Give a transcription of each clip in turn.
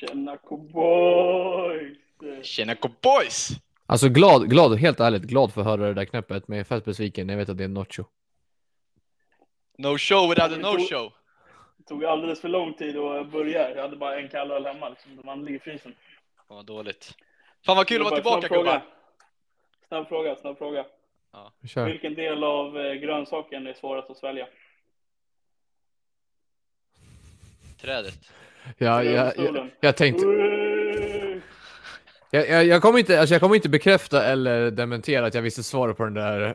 Tjena cowboys! Tjena boys! Alltså glad, glad, helt ärligt, glad för att höra det där knäppet, men jag är fett besviken. Jag vet att det är Nacho. No show without a no show. Det tog alldeles för lång tid att börja. Jag hade bara en kallöl hemma liksom. Den andra ligger i frysen. Vad dåligt. Fan vad kul att vara tillbaka gubbar. Snabb fråga, snabb fråga. Vi Kör. Vilken del av eh, grönsaken är svårast att svälja? Trädet. Jag, jag, jag, Stolen. jag tänkte, Ui! jag, jag, jag kommer inte, alltså jag kommer inte bekräfta eller dementera att jag visste svaret på den där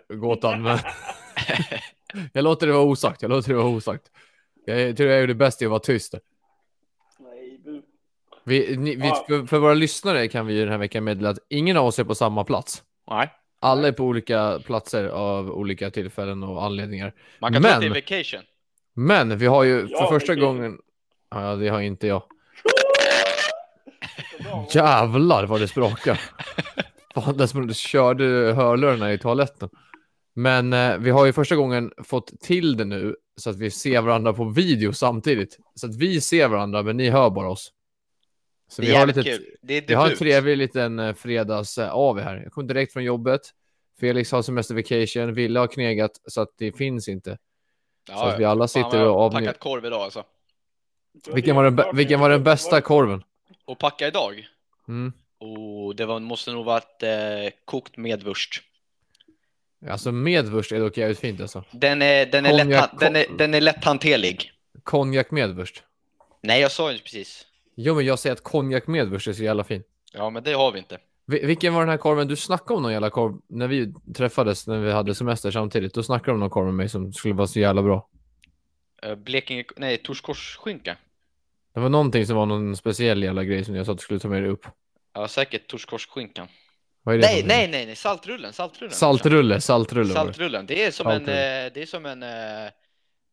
gåtan, men jag låter det vara osagt. Jag låter det vara osagt. Jag tror jag gjorde bäst i att vara tyst. där. Nej, bu. Vi, ni, vi, Ja. för, för våra lyssnare kan vi ju den här veckan meddela att ingen av oss är på samma plats. Nej. Alla är på olika platser av olika tillfällen och anledningar. Man kan tro att det är Men- vacation. Men vi har ju för Ja, första vilken- gången... Ja, det har inte jag. Så bra. Jävlar vad det sprakar. Fan, det som du körde hörlurarna i toaletten. Men eh, vi har ju första gången fått till det nu så att vi ser varandra på video samtidigt. Så att vi ser varandra, men ni hör bara oss. Så Det är vi har, jävligt lite, kul. Det är vi har en diffust. trevlig liten eh, fredags eh, av här. Jag kom direkt från jobbet. Felix har semestervacation, Ville har knegat så att det finns inte. Ja, så att vi ja. alla Fan, vad sitter jag och har avnjuter. packat korv idag alltså. Vilken var den, bä- vilken var den bästa korven? Och packa idag? Mm. Oh, det var, måste nog varit eh, kokt med wurst. Alltså med wurst är dock jävligt fint alltså. Den är, den, är Konjak- lätt, den, är, den är lätthanterlig. Konjak med wurst. Nej, jag sa ju precis. Jo, men jag säger att konjak med wurst är så jävla fin. Ja, men det har vi inte. Vi- vilken var den här korven? Du snackade om någon jävla korv när vi träffades när vi hade semester samtidigt. Då snackade du om någon korv med mig som skulle vara så jävla bra. Eh, Blekinge, nej, torskorsskinka. Det var någonting som var någon speciell jävla grej som jag sa att du skulle ta med dig upp. Ja, säkert torskorsskinkan. Vad är det? Nej, för- nej, nej, nej, saltrullen, saltrullen. Saltrulle, saltrulle. var det. Saltrullen, det är som Saltrullen. en, eh, det är som en, eh,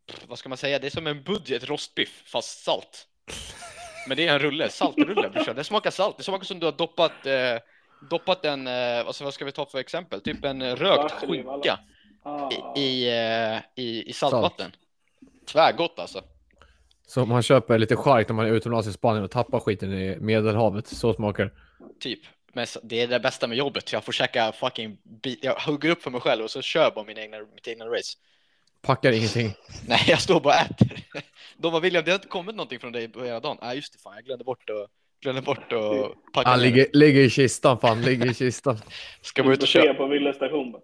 pff, vad ska man säga, det är som en budget rostbiff fast salt. Men det är en rulle, saltrulle brorsan, den smakar salt, det smakar som du har doppat, eh, doppat en, eh, alltså, vad ska vi ta för exempel, typ en eh, rökt Varsel i skinka vallen. Ah. i, i, eh, i, i saltvatten. Tvärgott alltså. Så man köper lite chark när man är utomlands i Spanien och tappar skiten i Medelhavet. Så smakar det. Typ. Men så- det är det bästa med jobbet. Jag får käka fucking bit. Jag hugger upp för mig själv och så kör jag bara min egna, mitt egna race. Packar ingenting. Nej, jag står bara och äter. De bara William, det har inte kommit någonting från dig på hela dagen. Nej, just det. Fan, jag glömde bort att, glömde bort att packa. Han ner. Ah, ligger, ligger i kistan fan, ligger i kistan. Ska bara ut och köpa. på Ville station. bara.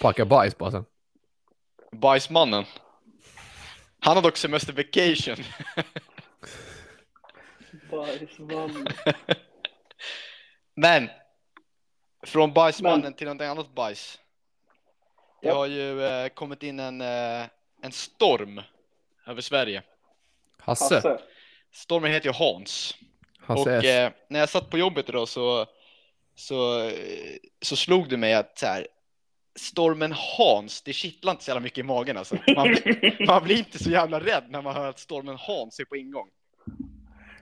Packar bajs bara sen. Bajsmannen. Han har dock semester vacation. Bajsmannen. Men. Från bajsmannen Men- till någonting annat bajs. Det har ju eh, kommit in en, eh, en storm över Sverige. Hasse. Hasse. Stormen heter ju Hans. Hasse och S. eh, när jag satt på jobbet idag så, så, eh, så slog det mig att så här, stormen Hans, det kittlar inte så jävla mycket i magen alltså. Man, blir- man blir inte så jävla rädd när man hör att stormen Hans är på ingång.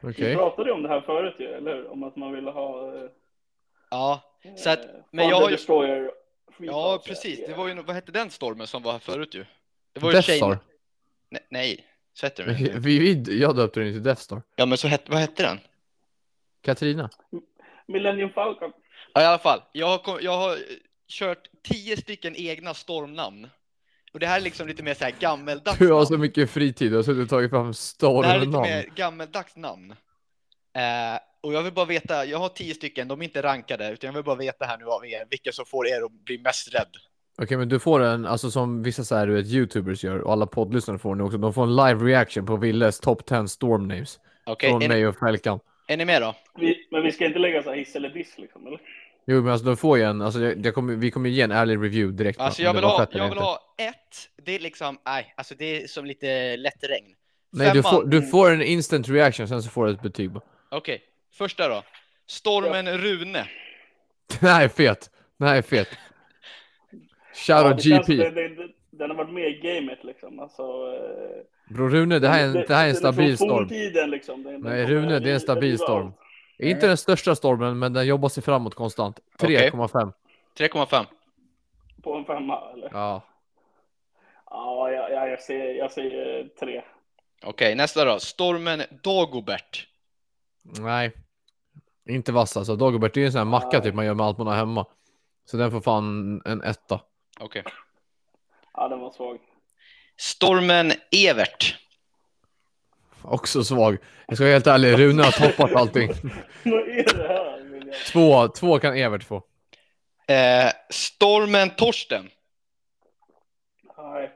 Okej. Vi pratade ju om det här förut ju, eller hur? Om att man ville ha... eh, Ja, Så att- eh, men jag Thunder har ju- Destroyer free ja thoughts, precis. eh, Det var ju, vad hette den stormen som var här förut ju? Det var ju Death Shane- Star. Nej, nej. så hette den Vi, inte. vi, jag döpte den till Death Star. Ja men så hette, vad hette den? Katarina. Millennium Falcon. Ja, i alla fall. Jag har, kom- jag har eh, kört tio stycken egna stormnamn. Och det här är liksom lite mer så här gammeldags Du har namn. så mycket fritid, du har suttit och tagit Det här fram är lite stormnamn. mer gammeldags namn. Eh, och jag vill bara veta, jag har tio stycken, de är inte rankade, utan jag vill bara veta här nu av er, vilka som får er att bli mest rädd. Okej, men du får en, alltså som vissa så här, du vet, youtubers gör och alla poddlyssnare får nu också. De får en live reaction på Willes top 10 storm names. Okej, från är, ni- mig och Fälkan. är ni med då? Vi, men vi ska inte lägga så här hiss eller diss liksom, eller? Jo, men alltså de får ju en, alltså jag, jag kommer, vi kommer ge en ärlig review direkt. va? Alltså Om jag det vill var ha, fett eller jag vill inte. ha ett, det är liksom, nej, alltså det är som lite lätt regn. Nej, du Femman. får, du får en instant reaction, sen så får du ett betyg. bara. Okej, första då. Stormen Rune. Den här är fet. Den här är fet. Ja, Shoutout det känns- GP. det- det- det- Den har varit med i gamet liksom. Alltså, eh, Bror Rune, det här är en, det här är en den från stabil storm. forntiden, liksom. Den- den Nej, kommer Rune, det är en stabil riva storm. allt. Inte den största stormen, men den jobbar sig framåt konstant. Okej. 3,5. 3,5. På en femma, eller? Ja, Ja. jag, jag, jag, säger, jag säger tre. Okej, nästa då. Stormen Dagobert. Nej. Inte vass alltså. Dagobert det är ju en sån här macka typ man gör med allt man har hemma. Så den får fan en etta. Okej. Ja, den var svag. Stormen Evert. Också svag. Jag ska vara helt ärlig, Rune har toppat allting. Vad är det här William? Två, två kan Evert få. Eh, stormen Torsten. Nej.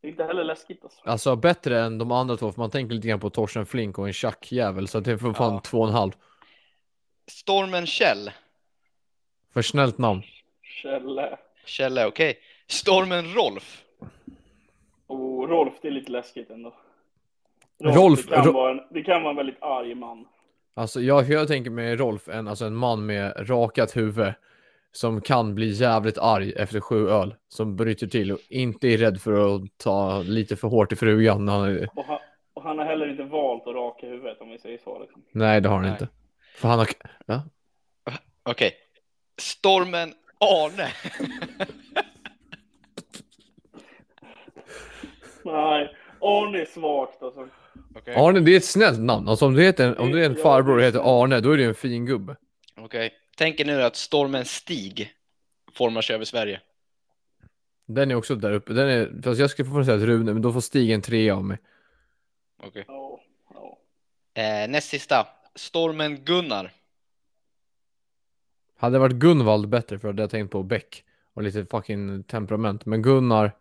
Det är inte heller läskigt alltså. Alltså bättre än de andra två, för man tänker lite grann på Torsten Flink och en tjackjävel. Så att det får fan Ja. två och en halv. Stormen Kjell. För snällt namn. Kjelle. Kjell är okej. Stormen Rolf. Och Oh, Rolf, det är lite läskigt ändå. Rolf- det, kan Ro- vara en, det kan vara en väldigt arg man. Alltså jag, jag tänker mig Rolf, en, alltså en man med rakat huvud. Som kan bli jävligt arg efter sju öl. Som bryter till och inte är rädd för att ta lite för hårt i frugan. när han- Och han, och han har heller inte valt att raka huvudet om vi säger så. Liksom. Nej, det har han Nej. inte. För han har... Ja. Okej. Stormen Arne. Nej, Arne är svagt alltså. Okej. Arne, det är ett snällt namn. Alltså, om, du heter, om du är en Ja, farbror och det är heter Arne, då är du en fin gubbe. Okej. Tänk er nu att stormen Stig formar sig över Sverige. Den är också där uppe. Den är, fast jag skulle fortfarande säga att Rune, men då får Stig en trea av mig. Okej. Ja, ja. Eh, näst sista. Stormen Gunnar. Hade det varit Gunvald bättre för då hade jag tänkt på Beck och lite fucking temperament. Men Gunnar...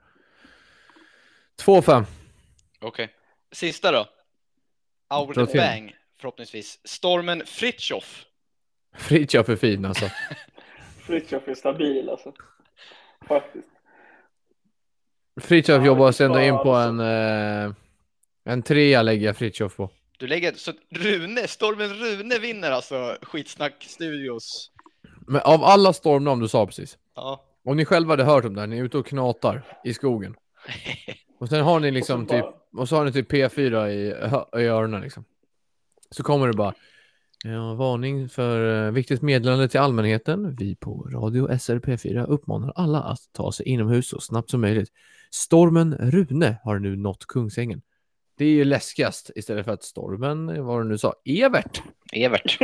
2-5. Okej. Sista då. Out Dra the till. bang, förhoppningsvis. Stormen Fritjof. Fritiof är fin alltså. Fritiof är stabil alltså. Faktiskt. Fritiof Ja, jobbar sig ändå ja, in på alltså. en... Eh, en trea lägger jag Fritiof på. Du lägger, så Rune, stormen Rune vinner alltså Skitsnack Studios. Men av alla stormnamn du sa precis. Ja. Om ni själva hade hört om det här, ni är ute och knatar i skogen. Och sen har ni liksom Och så typ, bara- och så har ni typ P4 i, i öronen liksom. Så kommer det bara, ja, varning för eh, viktigt meddelande till allmänheten. Vi på Radio SRP4 uppmanar alla att ta sig inomhus så snabbt som möjligt. Stormen Rune har nu nått Kungsängen. Det är ju läskigast istället för att stormen, eh, vad du nu sa, Evert. Evert.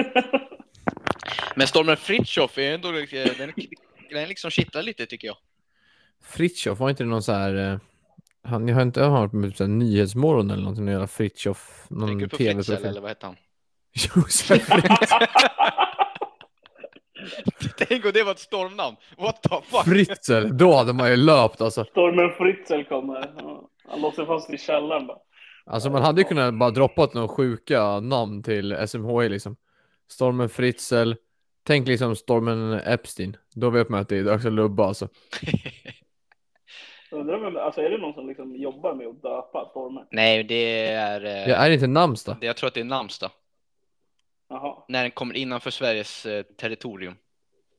Men stormen Fritjof är ändå, eh, den, den liksom kittlar lite tycker jag. Fritjof, var inte det någon så här, eh, han, jag har inte hört om typ så här Nyhetsmorgon eller någonting, någon jävla Fritjof, Tänker du någon på Fritzl tv-profil. eller vad heter han? Josef Tänk om det var ett stormnamn. What the fuck? Fritzl, då hade man ju löpt alltså. Stormen Fritzl kommer. Ja. Han låser fast i källaren bara. Alltså man hade ju kunnat bara droppat några sjuka namn till SMHI liksom. Stormen Fritzl, tänk liksom stormen Epstein. Då vet man att det är dags att lubba alltså. Undrar vem, alltså är det någon som liksom jobbar med att döpa stormen? Nej, det är... eh, Det är inte Namsta. Det, jag tror att det är Namsta. Jaha, När den kommer innanför Sveriges eh, territorium.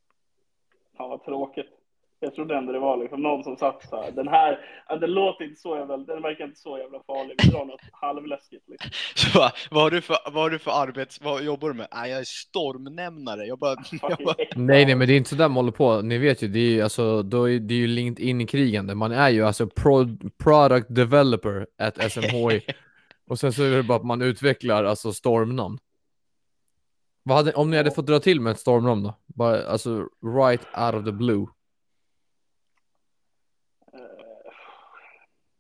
ja, vad tråkigt. Jag trodde ändå det var liksom någon som satt så här. Den här, ja, den låter inte så jävla, den verkar inte så jävla farlig. Vi drar något halvläskigt liksom. Så bara, vad har du för, vad har du för arbets... Vad jobbar du med? Ah, jag är stormnämnare. Jag bara... Jag Fucking bara äckligt. Nej, nej, men det är inte så där man håller på. Ni vet ju, det är ju alltså, då är det är ju LinkedIn-krigande. Man är ju alltså pro product developer at SMHI. Och sen så är det bara att man utvecklar alltså stormnamn. Vad hade, om ni hade fått dra till med ett stormnamn då? Bara, alltså right out of the blue. Eh,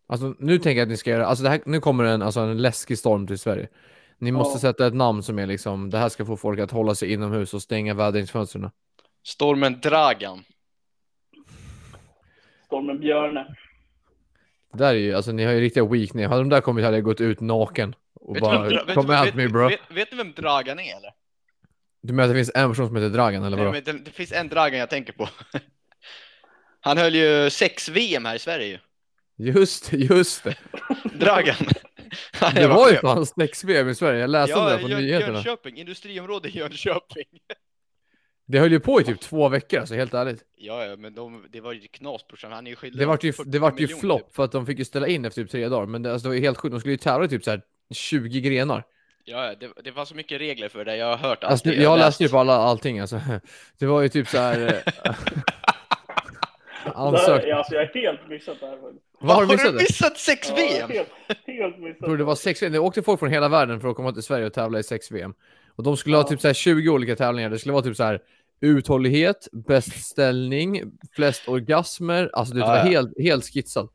Alltså nu tänker jag att ni ska göra, alltså det här, nu kommer en, alltså, en läskig storm till Sverige. Ni måste Ja. sätta ett namn som är liksom, det här ska få folk att hålla sig inomhus och stänga vädringsfönstren. Stormen Dragan. Stormen Björne. Det där är ju, alltså ni har ju riktiga weakness. Hade de där kommit hade jag gått ut naken och Vet du bara vem Dra- vet kom du- at vet- me bro. Vet, vet du vem Dragan är eller? Du menar att det finns en person som heter Dragan eller Nej, vadå? men det, det finns en Dragan jag tänker på. Han höll ju sex VM här i Sverige ju. Just det, just det. Dragan. Han Det är var ju chef. fan släktsvev i Sverige. Jag läste om det Ja, här på Jön- nyheterna. Jönköping, industriområde i Jönköping. Det höll ju på i typ två veckor alltså, helt ärligt. Ja, ja, men de, det var ju knas brorsan. Han är ju skyldig. Det vart ju, 40 det vart ju miljoner, flopp typ. för att de fick ju ställa in efter typ tre dagar. Men det, alltså, det var ju helt sjukt. De skulle ju tävla i typ så här 20 grenar. Ja, ja, det, det var så mycket regler för det. Jag har hört allt Alltså, det. jag, jag har läste ju läst. på alla, allting alltså. Det var ju typ så här... eh, Det här, Ansökt. alltså, jag har helt missat det här. faktiskt. Vad har du missat? du missat sex VM? helt, helt missat. tror det var sex VM. Det åkte folk från hela världen för att komma till Sverige och tävla i sex VM. Och de skulle ha Ja. typ så här 20 olika tävlingar. Det skulle vara typ så här uthållighet, bäst ställning, flest orgasmer. Alltså det Ja, var ja. helt, helt skitsat.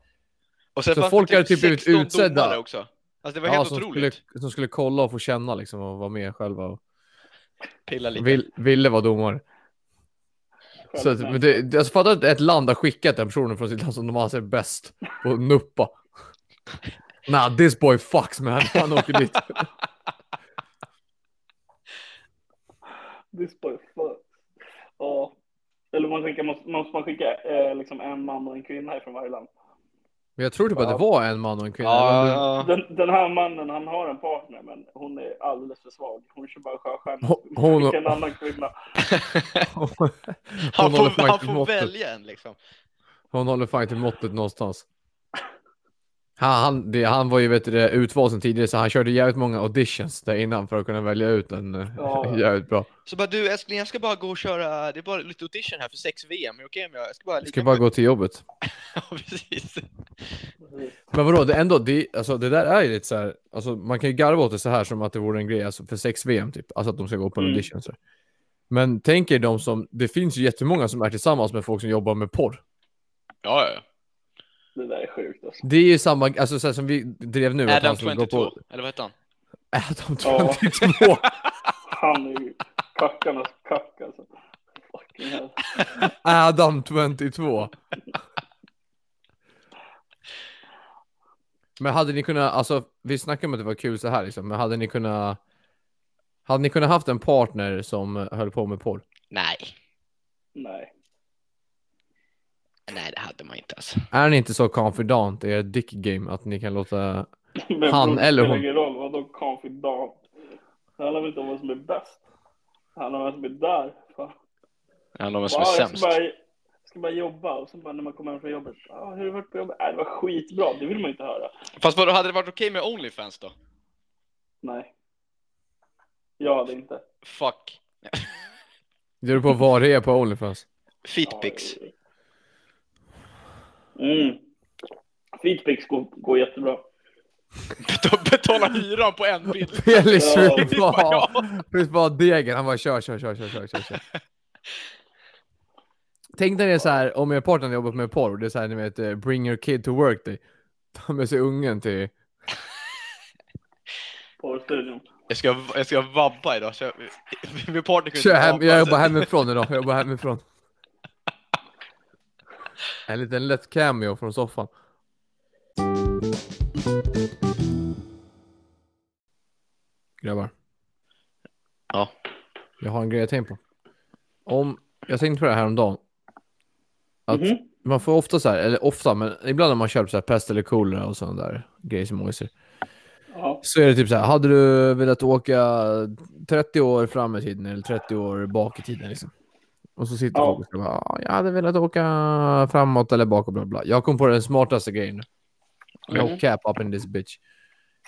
Och sen Så fanns det folk hade typ blivit 16 domare utsedda. Också. Alltså det var helt som, otroligt. Skulle, som skulle kolla och få känna liksom och vara med själva. Och Pilla lite. vill, ville vara domare. Så att, men det, det- alltså fattar att ett land har skickat den personen från sitt land som de anser bäst och nuppa. Nah, this boy fucks man. Han åker dit. This boy fuck. Ja. Eller man tänker, måste, måste man skicka eh, liksom en man och en kvinna ifrån varje land? Men jag tror typ att det var en man och en kvinna. Ja, Eller- ja, ja. Den, den här mannen, han har en partner, men hon är alldeles för svag. Hon kör bara sjöstjärna. Hon- hon- Skicka en annan kvinna. Han Hon får, håller fan han inte får måttet. välja en liksom. Hon håller fan inte måttet någonstans. Han, han, det, han var ju vet du, det, utvald sen tidigare så han körde jävligt många auditions där innan för att kunna välja ut en eh, Ja. jävligt bra. Så bara du älskling, jag ska bara gå och köra, det är bara lite audition här för sex VM, är det okej om jag, jag ska bara... Jag lika ska bara med- gå till jobbet. Ja, precis. Precis. Men vadå, det, ändå, det, alltså, det där är ju lite så här, alltså, man kan ju garva åt det så här som att det vore en grej alltså, för sex VM typ, alltså att de ska gå på en Mm. audition. Så. här. Men tänk er de som, det finns ju jättemånga som är tillsammans med folk som jobbar med porr. Ja, ja. Det där är sjukt alltså. Det är ju samma, alltså så här, som vi drev nu. att Adam han skulle gå 22, på- eller vad hette han? Adam Ja. 22. Han är ju kackarnas kack alltså. Fucking hell. Adam 22. Men hade ni kunnat, alltså vi snackade om att det var kul så här liksom, men hade ni kunnat hade ni kunnat haft en partner som höll på med porr? Nej, Nej. nej det hade man inte alltså. Är ni inte så confident i er dick game att ni kan låta... Men Han bror, eller Det hon. spelar ingen roll, vadå confidant? Det handlar väl inte om vad som är bäst. Det handlar om vad som är där. Fan. Det handlar om vem som Ja, är jag sämst. ska bara, jag ska bara jobba och sen bara när man kommer hem från jobbet. Ah, hur har det varit på jobbet? Äh, det var skitbra, det vill man ju inte höra. Fast vadå, hade det varit okej med Onlyfans då? Nej. Jag hade inte. Fuck. Det beror på vad det är på Onlyfans. Feetpics. Ja, Mm. Feedpics går, går jättebra. Bet- Betala hyran på en bild. Pelis Ja. vill bara ha- vill bara ha degen, han bara kör, kör, kör, kör, kör, kör. kör. Tänk när det är så här, om er partner har jobbat med porr, det är så här, ni vet, eh, bring your kid to work day. Ta med sig ungen till... på studion. Jag ska, jag ska vabba idag. Så jag, min partner kunde inte Kör hem, vabba, jag så- jobbar hemifrån idag, jag jobbar hemifrån. En liten lätt cameo från soffan. Grabbar. Ja. Jag har en grej jag tänkt på. Om, jag tänkte på det här om dagen. Att Mhm. man får ofta så här, eller ofta, men ibland när man köper så här pest eller kolera och sådana där grejer som oiser. Ja. Så är det typ så här, hade du velat åka 30 år fram i tiden eller 30 år bak i tiden liksom? Och så sitter Ja. folk och ska bara, "Ah, jag hade velat åka framåt eller bak och bla bla. Jag kom på den smartaste grejen. No Mm. cap up in this bitch.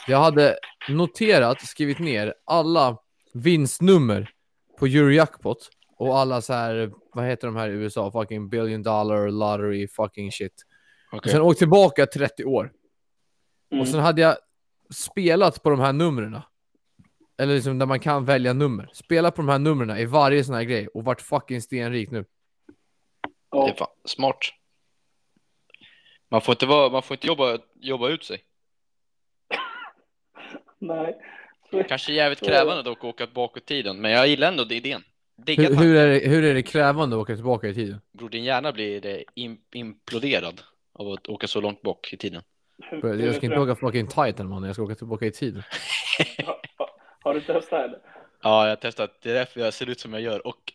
Jag hade noterat, skrivit ner alla vinstnummer på Eurojackpot och alla så här, vad heter de här i USA? Fucking billion dollar lottery fucking shit. Okej. Sen åkt tillbaka 30 år. Mm. Och sen hade jag spelat på de här numren. Eller liksom där man kan välja nummer. Spela på de här numren i varje sån här grej och vart fucking stenrik nu. Det är Ja. fan smart. Man får inte, vara, man får inte jobba, jobba ut sig. Nej. Kanske jävligt krävande dock att åka bakåt i tiden, men jag gillar ändå det idén. Digga Hur, tanken. hur, är det, hur är det krävande att åka tillbaka i tiden? Bror, din hjärna blir eh, im- imploderad av att åka så långt bak i tiden. Hur- För hur Jag ska inte åka fucking Titan man, jag ska åka tillbaka i tiden. Ha- ha- Har du testat eller? Ja, jag har testat. Det är därför jag ser ut som jag gör. Och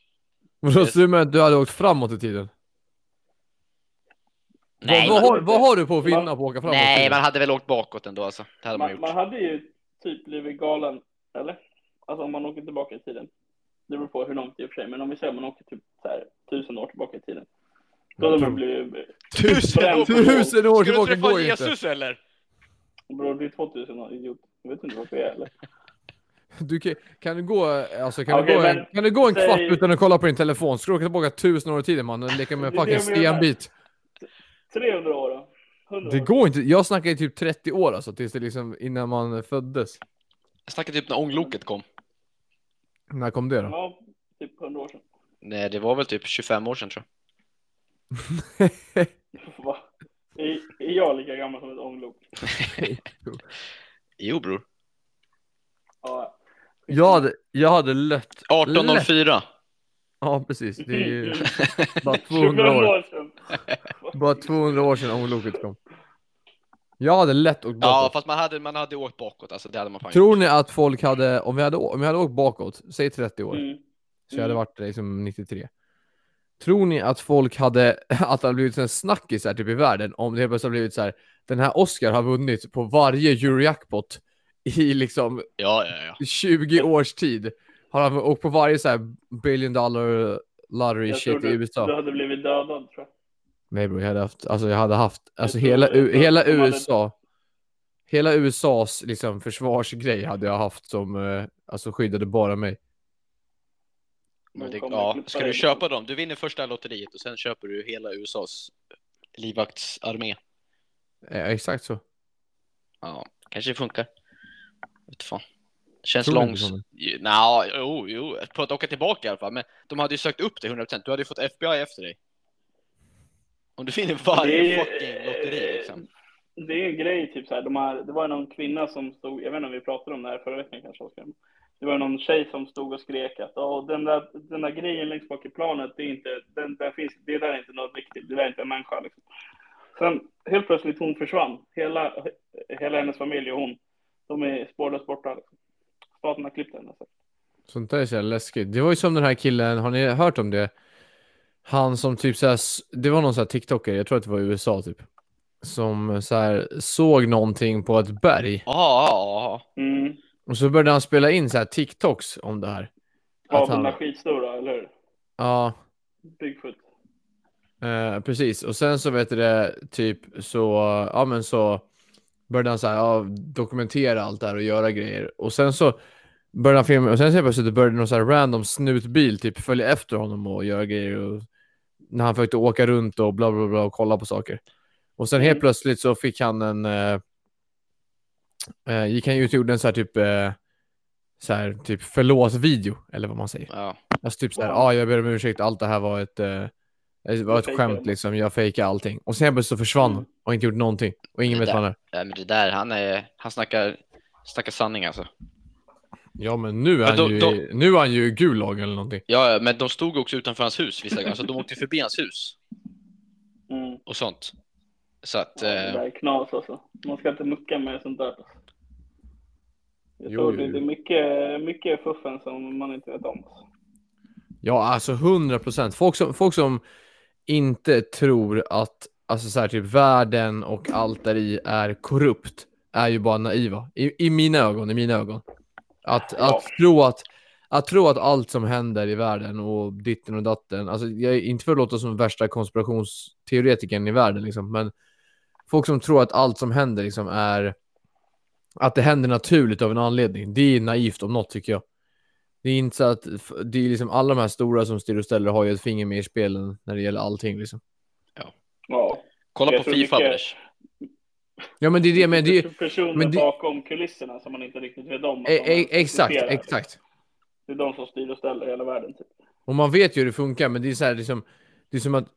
Men då ser du med att du hade åkt framåt i tiden? nej, man, vad, vad, har, vad har du på att vinna Man- på att åka framåt? i nej, tiden? man hade väl åkt bakåt ändå alltså. Det hade man Man, gjort. man hade ju typ blivit galen, eller? Alltså om man åker tillbaka i tiden. Det beror på hur långt i och för sig, men om vi säger att man åker typ så här, tusen år tillbaka i tiden. Då hade man blivit, Tusen år! Tusen Ska Tusen år du tillbaka träffa går ju inte. Jesus eller? bror det är 2000 år, idiot. Jag vet inte varför jag är eller? Du kan, kan du gå, alltså, kan, Okej, du gå en, men kan du gå en säg- kvart utan att kolla på din telefon? Ska du åka tillbaka tusen år i tiden man och leka med Det är det jag fucking menar. stenbit? 300 år då? 100 Det år. går inte. Jag snackar i typ 30 år alltså, tills det liksom innan man föddes. Jag snackade typ när ångloket kom. När kom det då? Ja, typ 100 år sedan. Nej, det var väl typ 25 år sedan tror jag. Va? Är, är jag lika gammal som ett ånglok? Jo bror. Ja. Jag hade, jag hade lött. 1804. Ja, precis. Det är ju bara 200 25 år. Mm. år sedan. Bara 200 år sedan ångloket kom. Jag hade lätt åkt Ja, bakåt. fast man hade, man hade åkt bakåt. Alltså det hade man fan Tror ni att folk hade, om jag hade, å- om jag hade åkt bakåt, säg 30 år, Mm. så jag hade Mm. varit liksom 93. Tror ni att folk hade, att det hade blivit en snackis här typ i världen om det helt plötsligt hade blivit så här, den här Oscar har vunnit på varje Eurojackpot i liksom Ja, ja, ja. 20 års tid. Har han åkt på varje så här billion dollar lottery Jag shit i tror du- USA? Du hade blivit dödad tror jag. Nej bro, jag hade haft, alltså jag hade haft, alltså tror hela, jag tror U- hela att de hade- USA, hela USAs liksom försvarsgrej hade jag haft som, eh, alltså skyddade bara mig. Men De det, kommer ja. klippa Ska du dig. köpa dem? Du vinner första lotteriet och sen köper du hela USAs livvaktsarmé. Eh, exakt så. Ja, kanske det funkar. Vet fan. Känns Tror du inte långs... det Nja, jo, jo, på att åka tillbaka i alla fall. Men de hade ju sökt upp dig 100%. Du hade ju fått FBI efter dig. Om du vinner varje Det är ju- fucking lotteri liksom. Det är en grej, typ så här, de här, det var någon kvinna som stod, jag vet inte om vi pratade om det här förra veckan kanske Oskar. Det var någon tjej som stod och skrek att "Åh, den, där, den där grejen längst bak i planet, det är inte, den, där finns, det där är inte något viktigt, det där är inte en människa. Liksom. Sen helt plötsligt hon försvann, hela, hela hennes familj och hon, de är spårlöst borta. Liksom. Staten har klippt henne. Så. Sånt där är så jävla läskigt. Det var ju som den här killen, har ni hört om det? Han som typ så här, s- det var någon så här TikToker, jag tror att det var i USA typ, som så här såg någonting på ett berg Jaha, jaha, jaha. Mm. och så började han spela in så här TikToks om det här. Ja, Att de han, där skitstora, eller hur? ja, Bigfoot. Eh, precis, och sen så vet du det, typ så, ja men så började han så här, ja, dokumentera allt det här och göra grejer. Och sen så började han filma, och sen så helt plötsligt började någon så här random snutbil typ följa efter honom och göra grejer. Och, när han försökte åka runt och bla bla bla och kolla på saker. Och sen helt Mm. plötsligt så fick han en, eh, eh, gick han ut och gjorde en så här typ, eh, så här typ förlåt-video, eller vad man säger. Ja. Alltså typ såhär, ja Ja. ah, jag ber om ursäkt, allt det här var ett, eh, det var ett fejkade. skämt liksom, jag fejkade allting. Och sen helt plötsligt så försvann hon Mm. och inte gjort någonting. Och ingen Det vet vad han är. Nej, men det där, han är... Han snackar, snackar sanning alltså. Ja men nu är han, Men då- ju, då- i- nu är han ju i Gulag eller någonting. Ja, ja, men de stod också utanför hans hus vissa gånger. Så de åkte förbi hans hus Mm. och sånt. Så att... Ja, det Eh, där är knas alltså. Man ska inte mucka med sånt där. alltså. Jag Jo, tror jo, det, jo. det är mycket, mycket fuffen som man inte vet om. alltså. Ja alltså 100 procent. Folk som, folk som inte tror att alltså så här, typ världen och allt där i är korrupt är ju bara naiva. I, i mina ögon, i mina ögon. Att, Ja. att, tro att, att tro att allt som händer i världen och ditten och datten, alltså jag är inte för att låta som värsta konspirationsteoretikern i världen liksom, men folk som tror att allt som händer liksom är att det händer naturligt av en anledning, det är naivt om något tycker jag. Det är inte så att, det är liksom alla de här stora som styr och ställer har ju ett finger med i spelen när det gäller allting liksom. Ja. kolla Jag på tror Fifa, mycket- Anders. Ja men det är det, men det är ju... Personer men det- bakom kulisserna som man inte riktigt vet om. att e- de e- ens Exakt, existerar. exakt. Det är de som styr och ställer i hela världen. Typ. Och man vet ju hur det funkar, men det är så här liksom... Det är som att...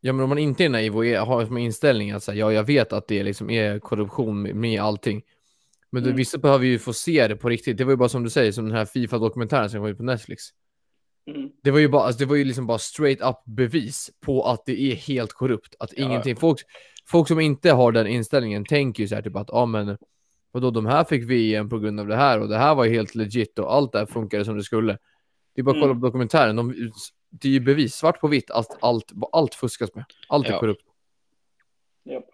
Ja men om man inte är naiv och är, har som inställning att säga ja jag vet att det liksom är korruption med, med allting. Men mm. Mm. vissa behöver ju få se det på riktigt. Det var ju bara som du säger, som den här Fifa-dokumentären som kom ut på Netflix. Mm. Det var ju bara, alltså, det var ju liksom bara straight up bevis på att det är helt korrupt. Att Ja. ingenting, folk, folk som inte har den inställningen tänker ju så här typ att ja ah, men vadå de här fick VM på grund av det här och det här var ju helt legit och allt det här funkade som det skulle. Det är bara att kolla Mm. på dokumentären, de, det är ju bevis svart på vitt att allt, allt fuskas med. Allt är Ja. korrupt. Japp.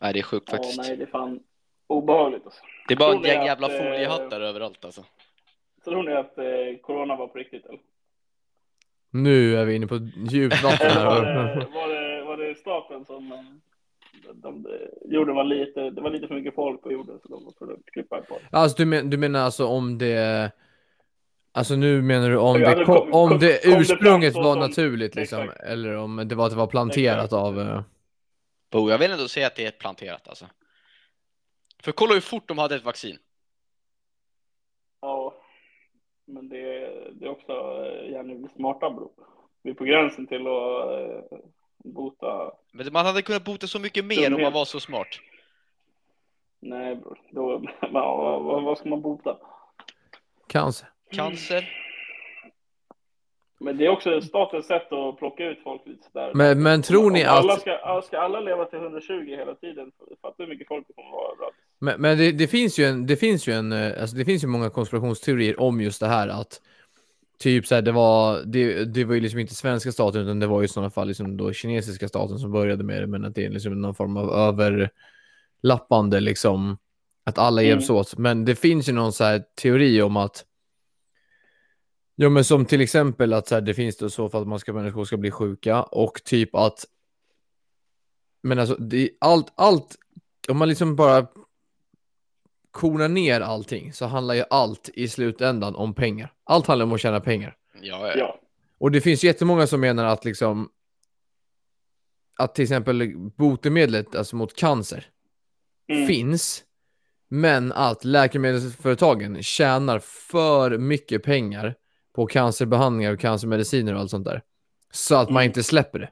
Nej, det är sjukt Ja, faktiskt. nej, det är fan obehagligt. Alltså. Det är bara en Tror ni gäng att, jävla eh, foliehattar överallt alltså. Tror ni att eh, corona var på riktigt? Eller, Nu är vi inne på djupt vatten eller var, här. det, var, det, var det staten som eh, de, de, jorden var lite, det var lite för mycket folk på jorden så de var tvungna att klippa på det. Alltså du, men, du menar alltså om det... Alltså nu menar du om, Ja, det, nu kom, alltså, kom- kom- om kom det det fram ursprunget så var som- naturligt liksom, Exakt. eller om det var att det var planterat Exakt. av... eh, Bo, jag vill ändå säga att det är planterat alltså. För kolla hur fort de hade ett vaccin. Ja, men det, det är också eh, jävligt smarta bro. Vi är på gränsen till att eh, bota. Men man hade kunnat bota så mycket mer om Dumhet. man var så smart. Nej bror, då, ja, vad- vad, vad ska man bota? Cancer. Cancer. Men det är också statens sätt att plocka ut folk lite sådär. Men, men tror ni Om alla att... ska, alla- ska alla leva till 120 hela tiden? Fattar hur mycket folk det kommer vara överallt. Men, men det, det finns ju en, det finns ju en, eh, alltså det finns ju många konspirationsteorier om just det här att typ så här, det var, det, det var ju liksom inte svenska staten utan det var ju i sådana fall liksom då kinesiska staten som började med det men att det är liksom någon form av överlappande liksom att alla Mm. hjälps åt. Men det finns ju någon så här teori om att Ja, men som till exempel att så här, det finns då så för att man ska, människor ska bli sjuka och typ att. Men alltså, det, allt, allt, om man liksom bara konar ner allting så handlar ju allt i slutändan om pengar. Allt handlar om att tjäna pengar. Ja, ja. Eh, Ja, Och det finns jättemånga som menar att liksom att till exempel botemedlet alltså mot cancer Mm. finns men att läkemedelsföretagen tjänar för mycket pengar på cancerbehandlingar och cancermediciner och allt sånt där. Så att man Mm. inte släpper det.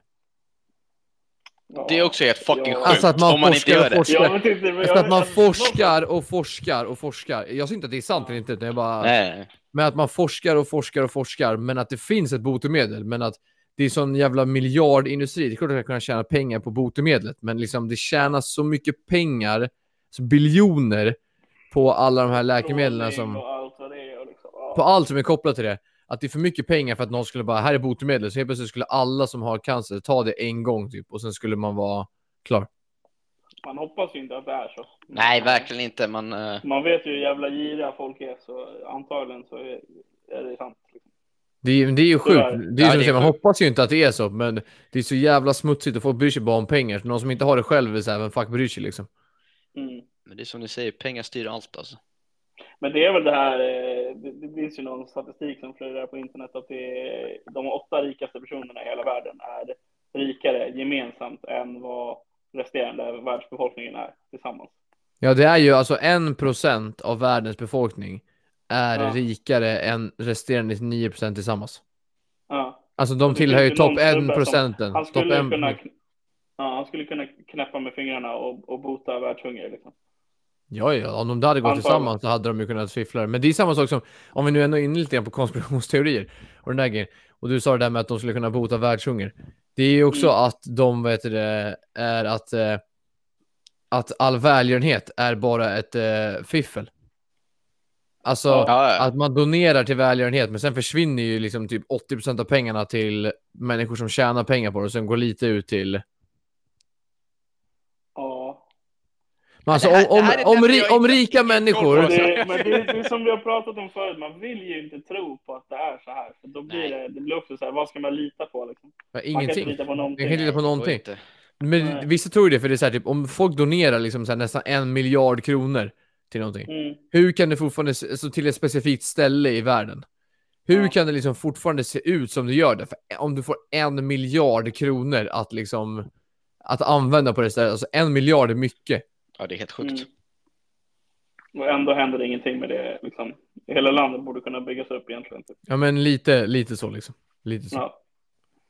ja. Det är också helt fucking Ja. sjukt Alltså att man om man inte forskar gör och det. forskar. Jag vet inte, men Efter jag- att man jag- forskar och forskar och forskar. Jag säger inte att det är sant eller inte, utan jag bara... Nej. Men att man forskar och forskar och forskar, men att det finns ett botemedel. Men att det är sån jävla miljardindustri. Det är klart att jag kan tjäna pengar på botemedlet, men liksom det tjänas så mycket pengar, så biljoner, på alla de här läkemedlen som... Och allt vad det är, och liksom. ja. På allt som är kopplat till det. Att det är för mycket pengar för att någon skulle bara, här är botemedel. Så helt plötsligt skulle alla som har cancer ta det en gång typ och sen skulle man vara klar. Man hoppas ju inte att det är så. Nej, verkligen inte. Man, eh, Man vet ju hur jävla giriga folk är, så antagligen så är, är det sant. liksom. Det är, det är ju sjukt. Det är, Tyvärr. ju Ja, som du det är säger, man sjukt. hoppas ju inte att det är så, men det är så jävla smutsigt och folk bryr sig bara om pengar. Så någon som inte har det själv är så här, vem fuck bryr sig liksom? Mm. men det är som du säger, pengar styr allt alltså. Men det är väl det här, eh, det, det finns ju någon statistik som florerar på internet att det är, de åtta rikaste personerna i hela världen är rikare gemensamt än vad resterande världsbefolkningen är tillsammans. Ja, det är ju alltså 1% av världens befolkning är Ja. rikare än resterande 9% tillsammans. Ja. Alltså de Det tillhör ju finns ju topp någon snubbe 1%. procenten. Han, Topp skulle ju 1%. kunna, ja, han skulle kunna knäppa med fingrarna och, och bota världshunger. Liksom. Ja, ja, om de där hade gått Antagligen. tillsammans så hade de ju kunnat fiffla. det. Men det är samma sak som, om vi nu ändå är inne lite grann på konspirationsteorier och den där grejen. Och du sa det där med att de skulle kunna bota världshunger. Det är ju också Mm. att de, vad heter det, är att, eh, att all välgörenhet är bara ett eh, fiffel. Alltså, Ja, ja. att man donerar till välgörenhet, men sen försvinner ju liksom typ 80% av pengarna till människor som tjänar pengar på det och sen går lite ut till Ja. men alltså, Det här- om, det här är om, om, därför ri, jag om inte- rika människor... Men det, men det, det är som vi har pratat om förut, man vill ju inte tro på att det är så här. För då blir Nej. det, det blir också så här, vad ska man lita på? Liksom? Ja, Man kan inte ingenting. lita på Jag någonting. kan inte lita på Det går någonting. inte. Nej. Men vissa tror ju det, för det är så här, typ, om folk donerar liksom, så här, nästan en miljard kronor till någonting. Mm. Hur kan det fortfarande, se- alltså, till ett specifikt ställe i världen? Hur Ja. kan det liksom fortfarande se ut som det gör det? För om du får en miljard kronor att liksom att använda på det stället, alltså en miljard är mycket. Ja, det är helt sjukt. Mm. Och ändå händer det ingenting med det. Liksom. Hela landet borde kunna byggas upp egentligen. Typ. Ja men lite, lite så liksom. Lite så. Ja.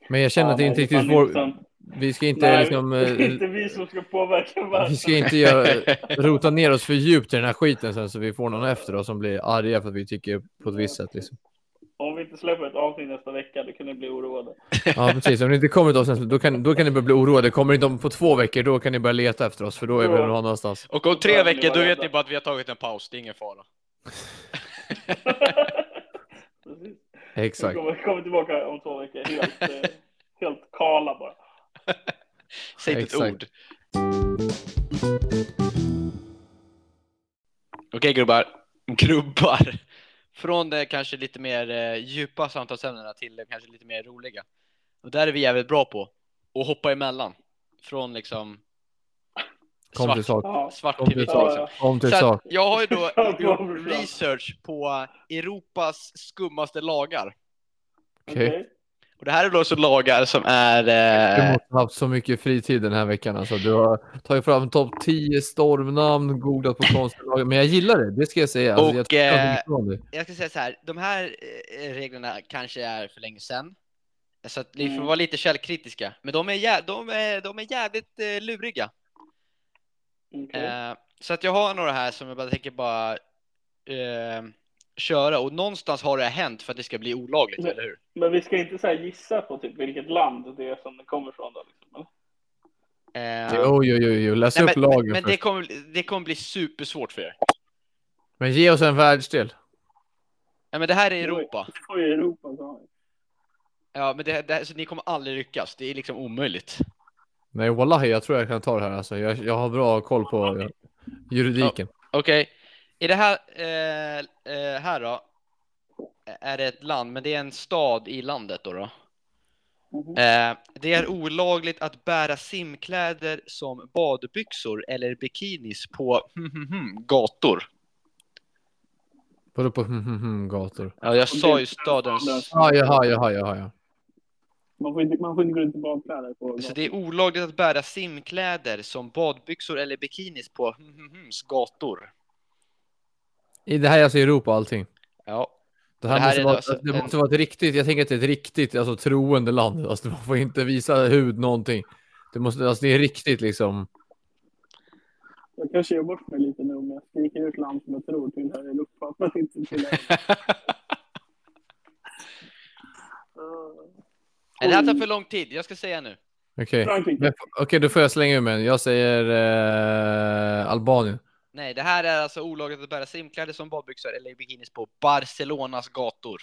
Men jag känner Ja, att det är nej, inte är riktigt fan vår, intressant. vi ska inte Nej, liksom, det är eh, inte vi som ska påverka Vi världen. ska inte göra, rota ner oss för djupt i den här skiten sen så vi får någon efter oss som blir arga för att vi tycker på ett visst sätt. Liksom. Om vi inte släpper ett avsnitt nästa vecka, då kan ni bli oroade. Ja, precis. Om det inte kommer ett avsnitt då kan, då kan ni börja bli oroade. Kommer det inte om på två veckor, då kan ni börja leta efter oss, för då är vi Ja. någon annanstans. Och om tre Ja, veckor, ni då var vet rädda. ni bara att vi har tagit en paus. Det är ingen fara. Precis. Vi Exakt. kommer, kommer tillbaka om två veckor helt, eh, helt kala bara. Säg inte ett Exakt. ord. Okej grubbar. Grubbar. Från det kanske lite mer eh, djupa samtalsämnena till det kanske lite mer roliga. Och där är vi jävligt bra på att hoppa emellan. Från liksom Kom till svart, sak. Ja. Eh, svart Kom till till vitt. Ja, Liksom. ja. sak. Kom till Så sak. att jag har ju då Ja, gjort bra. research på Europas skummaste lagar. Okej. Okej. Och det här är då alltså lagar som är... Du Eh, måste ha haft så mycket fritid den här veckan. Alltså. Du har tagit fram topp 10 stormnamn, googlat på konstiga lagar. Men jag gillar det, det ska jag säga. Alltså, Och, jag tycker eh, inte om det. jag ska säga så här, de här eh, reglerna kanske är för länge sedan. Så att ni får Mm. vara lite källkritiska. Men de är, jä- de är, de är jävligt eh, luriga. Okej. Eh, så att jag har några här som jag bara tänker bara eh, köra. Och någonstans har det här hänt för att det ska bli olagligt, Ja. eller hur? Men vi ska inte så här gissa på typ vilket land det är som det kommer från då? Liksom, eller? Eh, Jo, jo, jo, jo. läs nej, upp men, lagen men, men det, först. kommer, det kommer bli supersvårt för er. Men ge oss en världsdel. Nej, men det här är Oj. Europa. Det får ju Europa ta. Ja, men det, det, här- så ni kommer aldrig lyckas. Det är liksom omöjligt. Nej, wallahi, jag tror jag kan ta det här. Alltså. Jag, jag har bra koll på eh, juridiken. Okej, i det här, eh, eh, här då, är det ett land, men det är en stad i landet då. då. Mhm. Eh, det är olagligt att bära simkläder som badbyxor eller bikinis på gator. Vadå på hm, hm, hm, gator? Ja, jag Och sa det- ju stadens... Ah, jaha, jaha, jaha, ja. Man får inte, man får inte gå runt i badkläder på Så Alltså, det är olagligt att bära simkläder som badbyxor eller bikinis på gator. I det här är alltså Europa allting. Ja, Det här, Det här måste, är vara, alltså det en- måste vara ett riktigt, jag tänker att det är ett riktigt alltså, troende land. Alltså, man får inte visa hud någonting. Det, måste, alltså, det är riktigt liksom. Jag kanske gör bort mig lite nu om jag skriker ut land som jag tror tillhör Europa. Men inte tillhör. Eh, Nej, det här tar för lång tid, jag ska säga nu. Okej, Frankrike. Men- okej då får jag slänga ur mig en. Jag säger eh, Albanien. Nej, det här är alltså olagligt att bära simkläder som badbyxor eller bikinis på Barcelonas gator.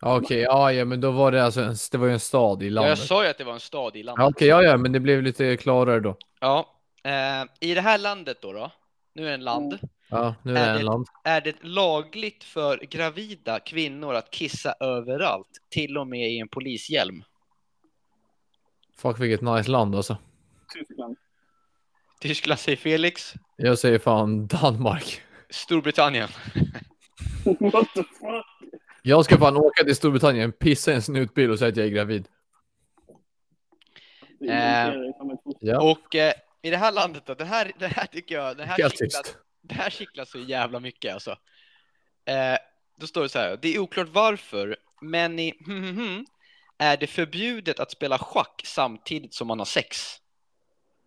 Ja, Okej, ja, ja, men då var det alltså en, det var ju en stad i Ja, jag landet. sa ju att det var en stad i Ja, landet. Okej, ja, ja, men det blev lite klarare då. Ja, eh, I det här landet då, då nu är det en land, Ja, Är nu är det det- en land. är det lagligt för gravida kvinnor att kissa överallt, till och med i en polishjälm. Fuck vilket nice land alltså. Tyskland. Tyskland säger Felix, Jag säger fan Danmark. Storbritannien. What the fuck? Jag ska fan åka till Storbritannien, pissa i en snutbil och säga att jag är gravid. Det är Eh. ju som ett foster. Ja, Och eh, i det här landet då, det här, det här tycker jag, det här helt kittlar- tyst. Det här kittlar så jävla mycket alltså. Eh, då står det så här, det är oklart varför, men i är det förbjudet att spela schack samtidigt som man har sex.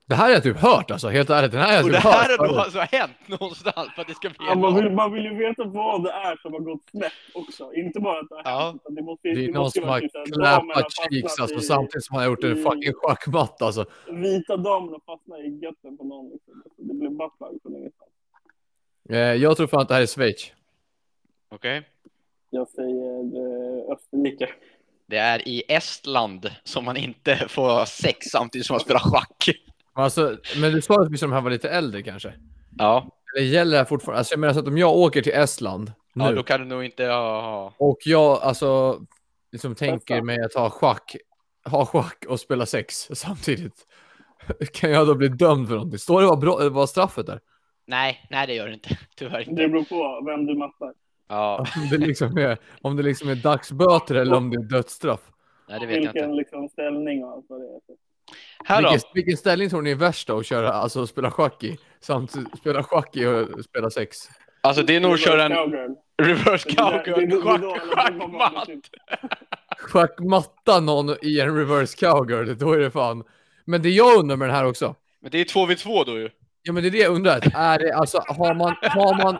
Det här har jag typ hört alltså, helt ärligt. Den här har jag Och typ det här har hört. då alltså hänt någonstans för att det ska bli Ja, man, vill, man vill ju veta vad det är som har gått snett också. Inte bara att det har Ja. hänt, utan det måste, Det är det någon måste ju som vara typ har såhär, damen klappat fastnat cheeks alltså, i- samtidigt som han har gjort en i- fucking schackmatt alltså. Vita damen har fastnat i götten på någon. Liksom. Alltså, Det blev buttplug från ingenstans. Eh, jag tror fan att det här är Schweiz. Okej. Jag säger eh, Österrike. Det är i Estland som man inte får ha sex samtidigt som man spelar schack. Men Alltså, men du sa att vi som här var lite äldre kanske? Ja, Eller gäller det här fortfarande? Alltså jag menar så att om jag åker till Estland nu ja då kan du nog inte ha... och jag alltså liksom tänker Estland. mig att ha schack, ha schack och spela sex samtidigt. Kan jag då bli dömd för någonting? Står det vad, bra, vad straffet är? Nej, nej det gör du inte. Tyvärr inte. Det beror på vem du mattar. Ja, Om det liksom är, om det liksom är dagsböter eller om det är dödsstraff? nej det vet jag Vilken inte. liksom, ställning och allt vad det är. Här då. Vilken, vilken ställning tror ni är värst då att köra, alltså spela schack i? Samt spela schack i och spela sex? Alltså det är nog att köra en Cowgirl. reverse Det är- det är- det cowgirl är då schack- alla blir schackmatt. barn. Schackmatta någon i en reverse cowgirl, då är det fan. Men det jag undrar med den här också, Men det är 2v2 då ju. Ja men det är det jag undrar. Är det, alltså, har, man, har, man,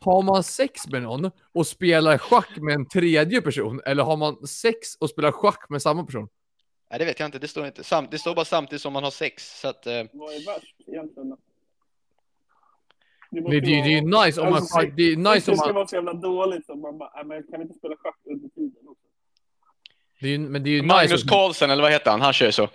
har man sex med någon och spelar schack med en tredje person? Eller har man sex och spelar schack med samma person? Nej det vet jag inte, det står inte. Sam det står bara samtidigt som man har sex. Så att, eh, Vad är värst egentligen? Det, det, det är ju nice om man... Alltså, Det är det nice om ska man vara så jävla dåligt så man bara, "Nej, men kan vi inte spela schack under tiden också? det är, ju- men det är ju Magnus nice... om- Carlsen eller vad heter han? Han kör ju så.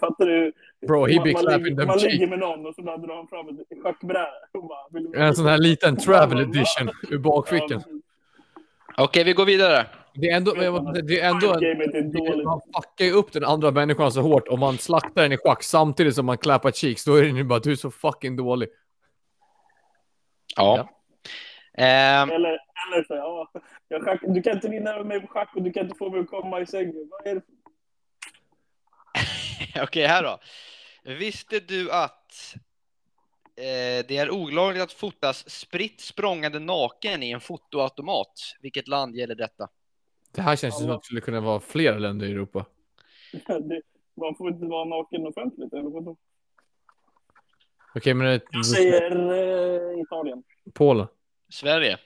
Fattar du? Bro, he man, be man, clapping ligger, them man ligger cheeks. med någon och så bara drar han fram ett schackbräde och bara... Vill du- En sån här liten travel Ja, men- edition ur Ja, bakfickan. precis. Okej, vi går vidare. Det är ändå... men jag måste säga, Det är ändå en, Gamet är dåligt. man fuckar ju upp den andra människan så hårt om man slaktar den i schack samtidigt som man clappar cheeks. Då är den ju bara du är så fucking dålig. Ja. Ja. Ehm, Eller, eller så, ja, jag schack, du kan inte vinna över mig på schack och du kan inte få mig att komma i sängen. Vad är det? för- Okej, här då. Visste du att eh, det är olagligt att fotas spritt språngande naken i en fotoautomat? Vilket land gäller detta? Det här känns ju som att det skulle kunna vara flera länder i Europa. Det, man får inte vara naken offentligt. Eller vadå? Okej, men det Jag säger eh, Italien. Polen. Sverige.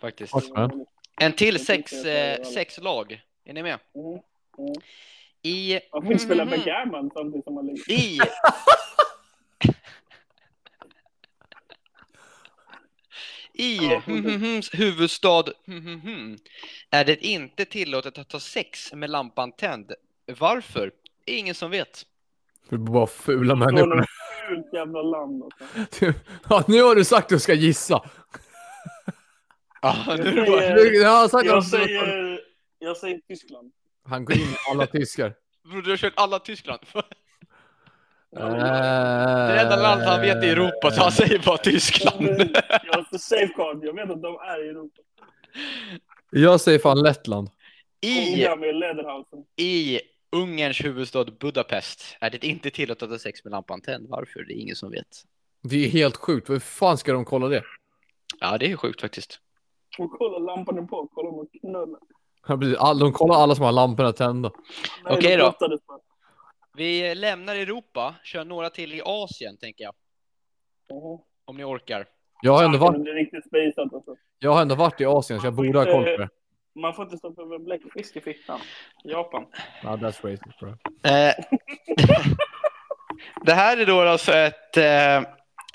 Faktiskt. Vart? Ja. En till Jag sex, tänkte jag eh, tar det. sex lag. Är ni med? Mm. I... Man får inte spela Mhm. backgammon samtidigt som man ligger. I... I Ja, okej. mhm-hums mm, huvudstad mhm-hmm är det inte tillåtet att ha sex med lampan tänd. Varför? Ingen som vet. Det är bara fula Från människor. Typ. något fult jävla land. Alltså. Ja, nu har du sagt att du ska gissa. Ja, nu är Jag det bara, säger- Nu, jag har sagt Jag att du... säger, jag säger Tyskland. Han går in i alla tyskar. Bror, du har kört alla Tyskland. Det Det enda land han vet i Europa, så han säger bara Tyskland. Jag har safeguard. Jag vet att de är i Europa. Eh, Jag säger fan Lettland. I, Ungarn med Lederhausen. I Ungerns huvudstad Budapest är det inte tillåtet att ha sex med lampan tänd. Varför? Det är ingen som vet. Det är helt sjukt. Hur fan ska de kolla det? Ja, det är sjukt faktiskt. Och kolla, lampan är på. Kolla om de knullar. Ja, precis. All- De kollar alla som har lamporna tända. Nej, de Okej då. brottades bara. Vi lämnar Europa, kör några till i Asien tänker jag, Mhm. om ni orkar. Jag har ändå Fan, varit, Det är riktigt spejsat alltså. jag har ändå varit i Asien så jag borde ha koll på det. Man får inte stoppa över bläckfisk i fickan. Japan. Ja, that's racist bro. Eh, det här är då alltså ett, eh,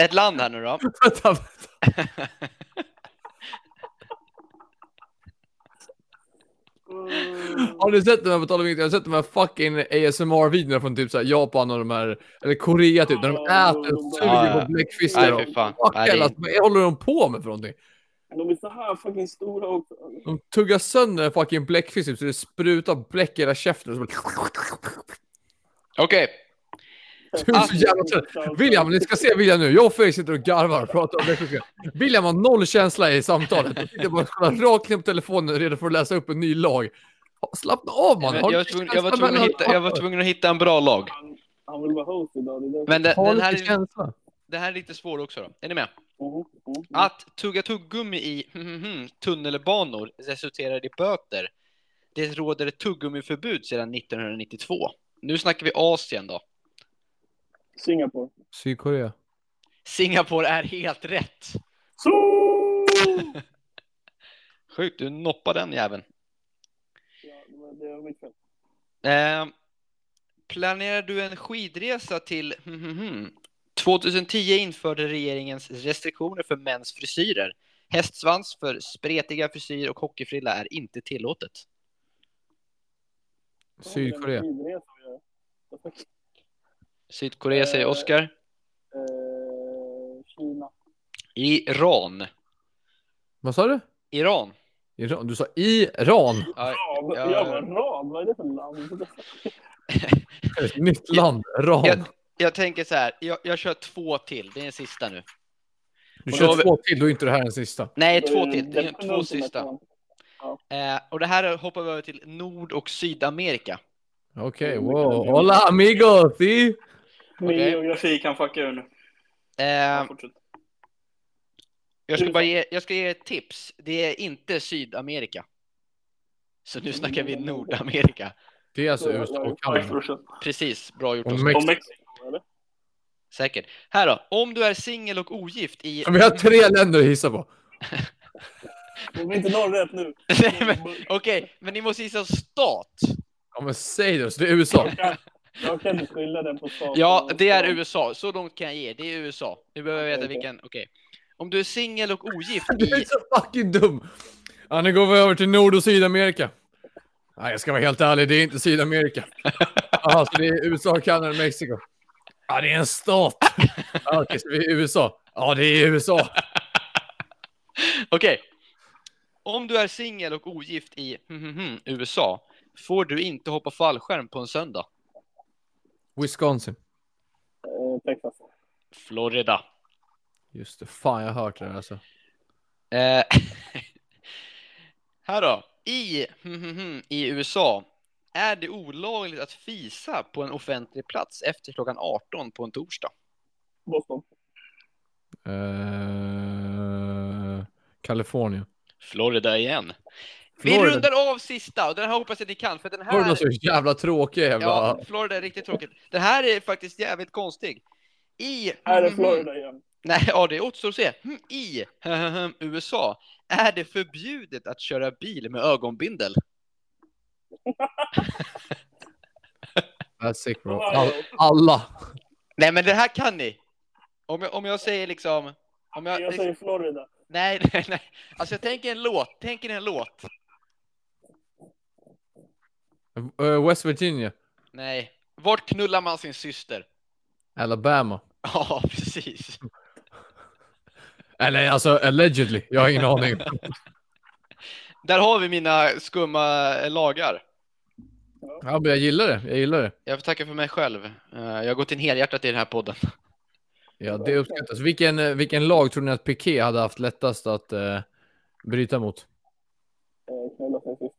ett land här nu då. Vänta, vänta. Mm. Mm. Har du sett de här, på tal om inget, jag har sett de här fucking ASMR-videorna från typ så här Japan och de här, eller Korea typ, där de äter och Ja, suger ja. på bläckfiskar Nej, och fy fan. fuck Nej, det hell, är- alltså, vad håller de på med för någonting? De är så här fucking stora också. De tuggar sönder en fucking bläckfisk typ, så det sprutar bläck i hela käften. Och så bara... Okej, Du är så jävla trött. William, ni ska se William nu. Jag och Felix sitter och garvar och pratar om bläckfiskar. William har noll känsla i samtalet. Han sitter bara och kollar rakt ner på telefonen redo för att läsa upp en ny lag. Slappna av man. men Har jag, var du tvungen, jag, känsla var tvungen att mellan- hitta, jag var tvungen att hitta en bra lag. Han, han vill vara host idag. Det är därför. Men den, Ha den, lite här, är- känsla. den här är lite svår också då. Är ni med? Mhm, mhm. Att tugga tuggummi i mhm, tunnelbanor resulterar i böter. Det råder ett tuggummiförbud sedan 1992. Nu snackar vi Asien då. Singapore. Sydkorea. Singapore är helt rätt. Så! Sjukt, du noppade den jäveln. ja, det var, det var mitt fel. Eh, planerar du en skidresa till mhm, 2010 införde regeringens restriktioner för mäns frisyrer. Hästsvans för spretiga frisyrer och hockeyfrilla är inte tillåtet. Sydkorea. Det var en skidresa vi gör. Vad fuck? Sydkorea säger Eh. Oskar. Eh, Kina. Iran. Vad sa du? Iran. Iran. Du sa Iran. Ram. Ja, Ja, Ja, ja. jag bara, ram. Vad är det för land? Ett nytt land. Iran. jag, jag tänker så här, jag, jag kör två till, det är den sista nu. Du då har kör vi- två till, då är inte det här den sista. Nej, två till, Mm, det är Eh, Den två sista. ultimativa. Eh, och det här hoppar vi över till Nord och Sydamerika. Okej, Oh my wow. God. Hola amigo! Si. Min Okej. geografi kan fucka ur nu. Eh, Fortsätt. jag, ska bara ge, jag ska ge ett tips. Det är inte Sydamerika. Så nu snackar vi Nordamerika. Det är alltså USA och Kanada. Fortsätt. Precis, bra gjort Och Oskar. Mexiko. Och Mexiko, eller? Säkert. Här då, om du är singel och ogift i... Vi har tre länder att gissa på. Om vi inte når rätt nu. Nej, men, Okej, men ni måste gissa stat. Ja men säg det, så det är USA. Jag kan- Jag kan inte skilja den på stat. Ja, och- det är USA. Så långt kan jag ge. Det är USA. Nu behöver jag veta Okej, okej. vilken. Okej. Om du är singel och ogift Du är i... så fucking dum! Ja, nu går vi över till Nord och Sydamerika. Nej, jag ska vara helt ärlig, det är inte Sydamerika. Jaha, så det är USA, Kanada och Mexiko. Ja, det är en stat. Ja, Okej, så vi är USA. Ja, det är USA. Okej. Om du är singel och ogift i USA får du inte hoppa fallskärm på en söndag. Wisconsin. Eh, Texas. Florida. Just det, fan jag har hört det där alltså. Eh, här då. I, hm, I USA är det olagligt att fisa på en offentlig plats efter klockan 18 på en torsdag. Boston. Eh, Kalifornien. Florida igen. Vi Florida. rundar av sista och den här hoppas jag att ni kan för den här. Florida är så jävla tråkig jävla... ja, Florida är riktigt tråkigt. Den här är faktiskt jävligt konstig. I. hm, Här är Florida igen. Nej, ja, det återstår att se. Mm, I hm, USA är det förbjudet att köra bil med ögonbindel. That's sick bro. All, alla. Nej, men det här kan ni. Om jag, om jag säger liksom... Om jag, Jag säger Florida. nej, nej, nej. Alltså jag tänker en låt. Tänker en låt. Eh, West Virginia. Nej. Vart knullar man sin syster? Alabama. Ja, precis. Eller alltså allegedly. Jag har ingen aning. Där har vi mina skumma eh, lagar. Ja, men jag gillar det. Jag gillar det. Jag får tacka för mig själv. Eh, Jag har gått in helhjärtat i den här podden. Ja, det uppskattas. Vilken, eh, vilken lag tror ni att Piqué hade haft lättast att eh, bryta mot? Eh, Knulla sin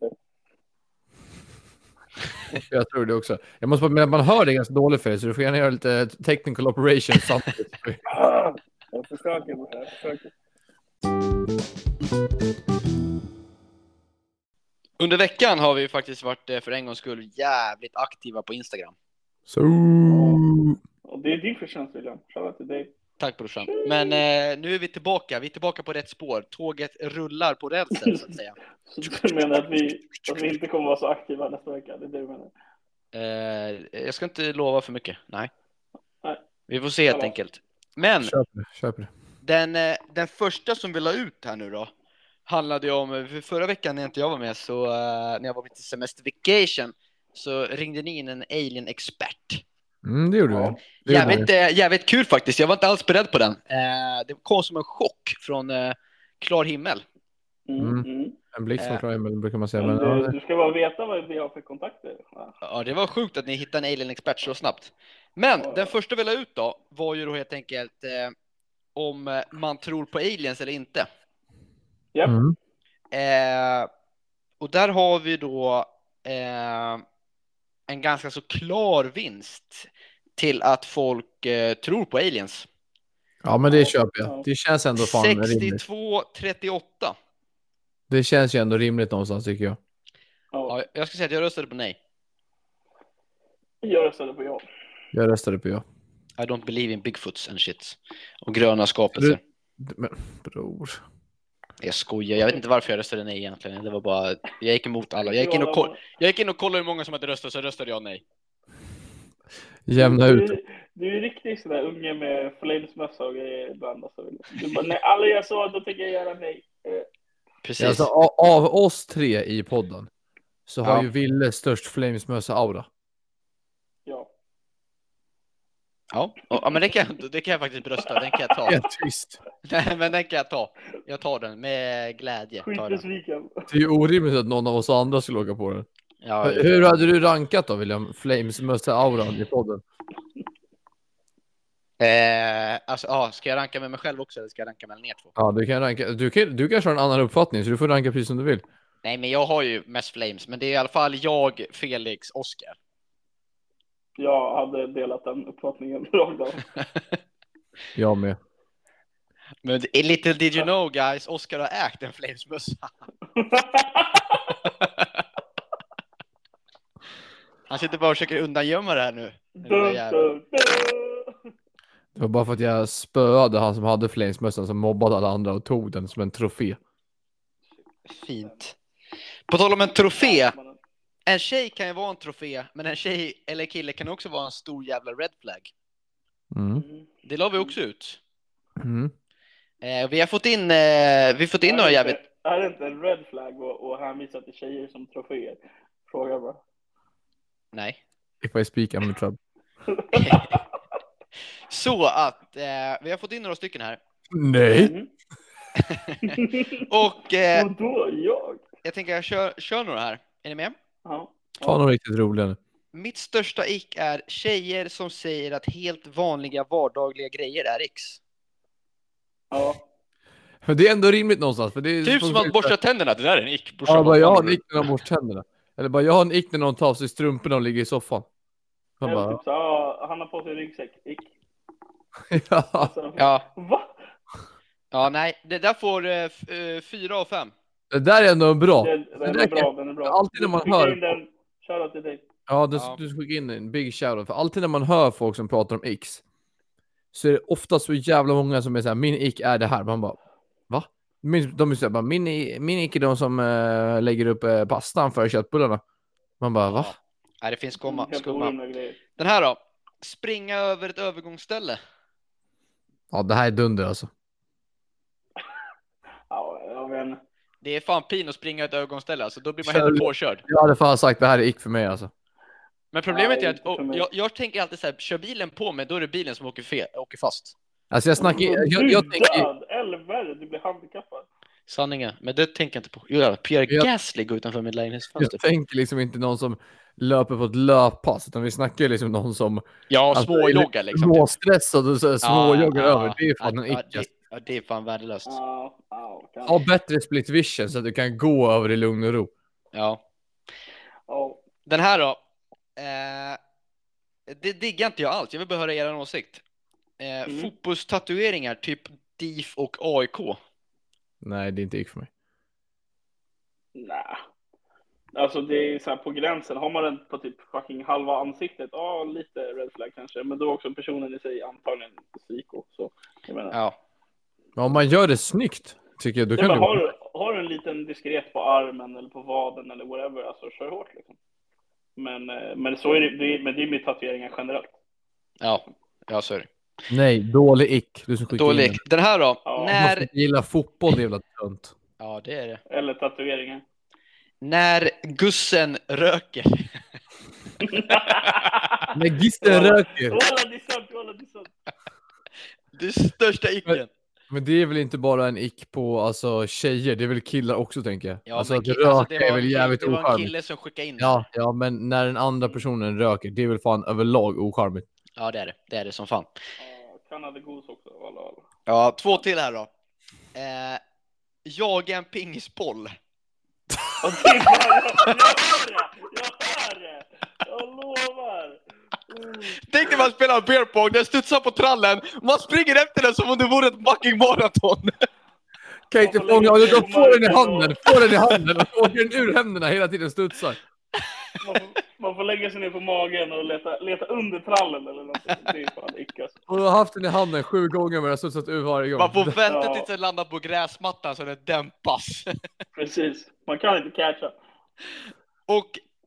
syster. Jag tror det också. Jag måste bara, men man hör det ganska dåligt för dig, så du får gärna göra lite eh, technical operations samtidigt. Ah, Jag försöker. Jag försöker. Under veckan har vi ju faktiskt varit eh, för en gångs skull jävligt aktiva på Instagram. Så... Och det är din förtjänst William. Shoutout till dig. Tack brorsan. Men eh, nu är vi tillbaka. Vi är tillbaka på rätt spår. Tåget rullar på rälsen så att säga. Så du menar att vi, att vi inte kommer vara så aktiva nästa vecka? Det är det du menar? Eh, jag ska inte lova för mycket. Nej. Nej. Vi får se helt Ja. enkelt. Men Köp det. Köp det. den, eh, den första som vi la ut här nu då handlade ju om, eh, för förra veckan när inte jag var med så eh, när jag var på lite semestervacation så ringde ni in en alien-expert. Mm, det gjorde vi. Ja. Det gjorde vi. Jävligt, eh, jävligt kul faktiskt. Jag var inte alls beredd på den. Eh, det kom som en chock från eh, klar himmel. Mm, Mm. mm. En blixt från Eh, klar himmel brukar man säga. Men Men, du, ja, du ska bara veta vad vi har för kontakter. va? Ja, det var sjukt att ni hittade en alien-expert så snabbt. Men Ja. den första vi la ut då var ju då helt enkelt eh, om eh, man tror på aliens eller inte. Japp. Mm. Eh, och där har vi då eh, en ganska så klar vinst till att folk eh, tror på aliens. ja, men det köper Ja. jag. Det känns ändå fan rimligt. 62-38. Det känns ju ändå rimligt någonstans tycker jag. Ja, Ja, jag ska säga att jag röstade på nej. jag röstade på ja. Jag röstade på ja. I don't believe in Bigfoots and shit. Och gröna skapelser. Men bror. Jag skojar, jag vet inte varför jag röstade nej egentligen. Det var bara, jag gick emot alla. Jag gick in och, koll... jag gick in och kollade hur många som hade röstat, så röstade jag nej. Jämna Mm. Du- ut. Du är riktigt sådär unge med flamesmössa och grejer ibland. Alltså. Du bara, nej, alla jag sa, då tänker jag göra nej. Eh, Precis. Alltså, av, av oss tre i podden så har Ja. ju Ville störst Flames-mössa-aura. ja. Ja, och- ja men det kan, jag- det kan jag faktiskt rösta, den kan jag ta. Helt tyst. Nej, men den kan jag ta. Jag tar den med glädje. Tar den. Skitbesviken. Det är ju orimligt att någon av oss andra skulle åka på den. Ja, Hur hur hade du rankat då William? Flames-mössa-auran i podden? eh, alltså, ja, ska jag ranka med mig själv också eller ska jag ranka mellan er två? Ja, du kan ranka. Du, kan, du kanske har en annan uppfattning så du får ranka precis som du vill. Nej, men jag har ju mest flames, men det är i alla fall jag, Felix, Oscar. Jag hade delat den uppfattningen rakt av. Jag med. Men det- little did you know guys, Oscar har ägt en flamesmössa. Han sitter bara och försöker undangömma det här nu. Dun, dun, dun. Det var bara för att jag spöade han som hade Flames-mössan som mobbade alla andra och tog den som en trofé. Fint. På tal om en trofé. En tjej kan ju vara en trofé, men en tjej eller kille kan också vara en stor jävla red flag. Mm. Mm. Det la vi också ut. Mm. Eh, vi har fått in, eh, vi har fått in några Är det jävligt... inte- Är det inte en red flag och, och hänvisa till tjejer som troféer? Fråga bara. Nej. If I speak I'm in trouble. Så att eh, vi har fått in några stycken här. Nej! Mm. Och eh, och då jag? jag tänker jag kör, kör några här. Är ni med? Ja. Ta någon riktigt rolig nu. Mitt största ick är tjejer som säger att helt vanliga vardagliga grejer är x. Ja. Men det är ändå rimligt någonstans. För det är Typ som att borsta tänderna, det där är en ick brorsan. Ja, bara Vad jag har fan en är det? ick när de borstar tänderna. Eller bara jag har en ick när någon tar av sig strumporna och ligger i soffan. Man Eller bara, typ så, ja, han har på sig ryggsäck. Ick. ja. Så, Ja, Va? ja, nej, det där får eh, f- eh, fyra av fem. Det där är ändå bra. Den, den där är kan- bra, den är bra. alltid när man Skicka hör- in den. Shoutout till dig. Ja, du, Ja. du ska skicka in en big shoutout. För alltid när man hör folk som pratar om X så är det ofta så jävla många som är så här, min ick är det här. Man bara, va? Min, de är så här, bara, min, i- min ick är de som eh, lägger upp eh, pastan före köttbullarna. Man bara, va? Nej, det finns komma, Helt skumma. orimliga grejer. Den här då? Springa över ett övergångsställe. Ja, det här är dunder alltså. Ja, jag vet inte. Det är fan pin att springa över ett övergångsställe, alltså då blir man Kör helt du- påkörd. Jag hade fan sagt, det här är ick för mig alltså. Men problemet Nej, är att inte för oh, mig. jag, jag tänker alltid så här, kör bilen på mig, då är det bilen som åker, fel, åker fast. Alltså jag snackar, jag, jag, jag du tänker... död! Eller värre, du blir handikappad. Sanningen, men det tänker jag inte på. Jo, jävlar, Pierre Jag- Gasly går utanför mitt lägenhetsfönster. Jag tänker liksom inte någon som löper på ett löppass, utan vi snackar ju liksom någon som Ja, Alltså, småjogga liksom. typ. småstressad och så här småjoggar Ja, över. Det är fan ja, en ja, ick. det, alltså. ja, det är fan värdelöst. Ja, ja, kan- Ha bättre split vision så att du kan gå över i lugn och ro. Ja. ja. Den här då. Eh, det diggar inte jag alls. Jag vill bara höra er åsikt. Eh, Mm. Fotbollstatueringar, typ DIF och AIK. Nej, det är inte ick för mig. Nej. Alltså det är så här på gränsen. Har man den på typ fucking halva ansiktet, ja lite red flag kanske. Men då är också personen i sig antagligen psyko. Så jag menar. Ja. Men om man gör det snyggt, tycker jag, då Nej, kan men det har, vara... du, har du en liten diskret på armen eller på vaden eller whatever, alltså kör hårt liksom. Men, eh, men så är det, det, är- men det är med tatueringar generellt. Ja, ja så är det. Nej, dålig ick. Du som skickar in Dålig. den. Den här då. Ja. Du måste När... inte gilla fotboll, det är jävla tönt. Ja, det är det. Eller tatueringar. När gussen röker. När gisten Ja. röker. Kolla det är sant, kolla det är sant. Det är största icken. Men det är väl inte bara en ick på alltså, tjejer, det är väl killar också tänker jag. Ja, alltså men att ki- röka alltså, det var är en väl kill- jävligt Det var en ocharmigt. kille som skickade in Ja, ja, men när den andra personen röker, det är väl fan överlag ocharmigt. ja, det är det. Det är det som fan. Ja, Kanada Goose också. Alla, alla. Ja, två till här då. Eh, jaga en pingisboll. Och det är bara, jag, jag hör det! Jag hör det! Jag lovar! Mm. Tänk dig man spelar beer pong, den studsar på trallen, man springer efter den som om det vore ett fucking maraton. Kan Ja, inte men fånga lägg honom, till de får den i marken handen, och- får den i handen och åker den ur händerna hela tiden studsar. Man, får, man får lägga sig ner på magen och leta, leta under trallen eller något. Det är fan ick alltså. Och du har haft den i handen sju gånger men har studsat ur varje gång. Man får vänta Ja. tills den landar på gräsmattan så den dämpas. Precis. Man kan inte catcha. Och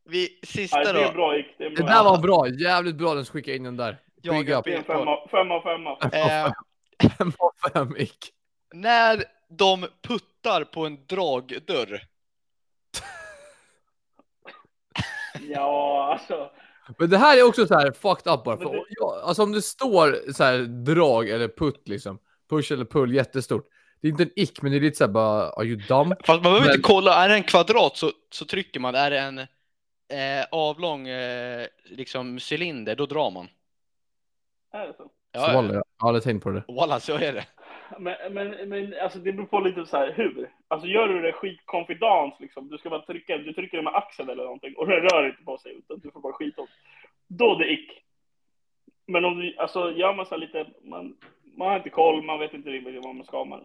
vi Nej, sista det är då. bra ick. Det är Det bra. där var bra, jävligt bra den som skickade in den där. Big Jaga en up. Det är en pingisboll. femma, femma, femma. Eh, Fem av fem ick. när de puttar på en dragdörr. Ja, alltså. Men det här är också så här fucked up bara. Men För, det- ja, alltså om det står så här drag eller putt liksom, push eller pull jättestort. Det är inte en ick men det är lite så här bara, are you dumb? Fast man behöver Men- inte kolla, är det en kvadrat så, så trycker man, är det en eh, avlång eh, liksom cylinder, då drar man. Är det så? Ja, ja. Jag hade tänkt på det. Walla, så är det. Men, men, men alltså, det beror på lite så här hur. Alltså gör du det skitkonfidans liksom. Du ska bara trycka, du trycker det med axeln eller någonting och den rör inte på sig utan du får bara skit åt. Då det ick. Men om du, alltså gör man så här lite, man, man har inte koll, man vet inte riktigt vad man ska man.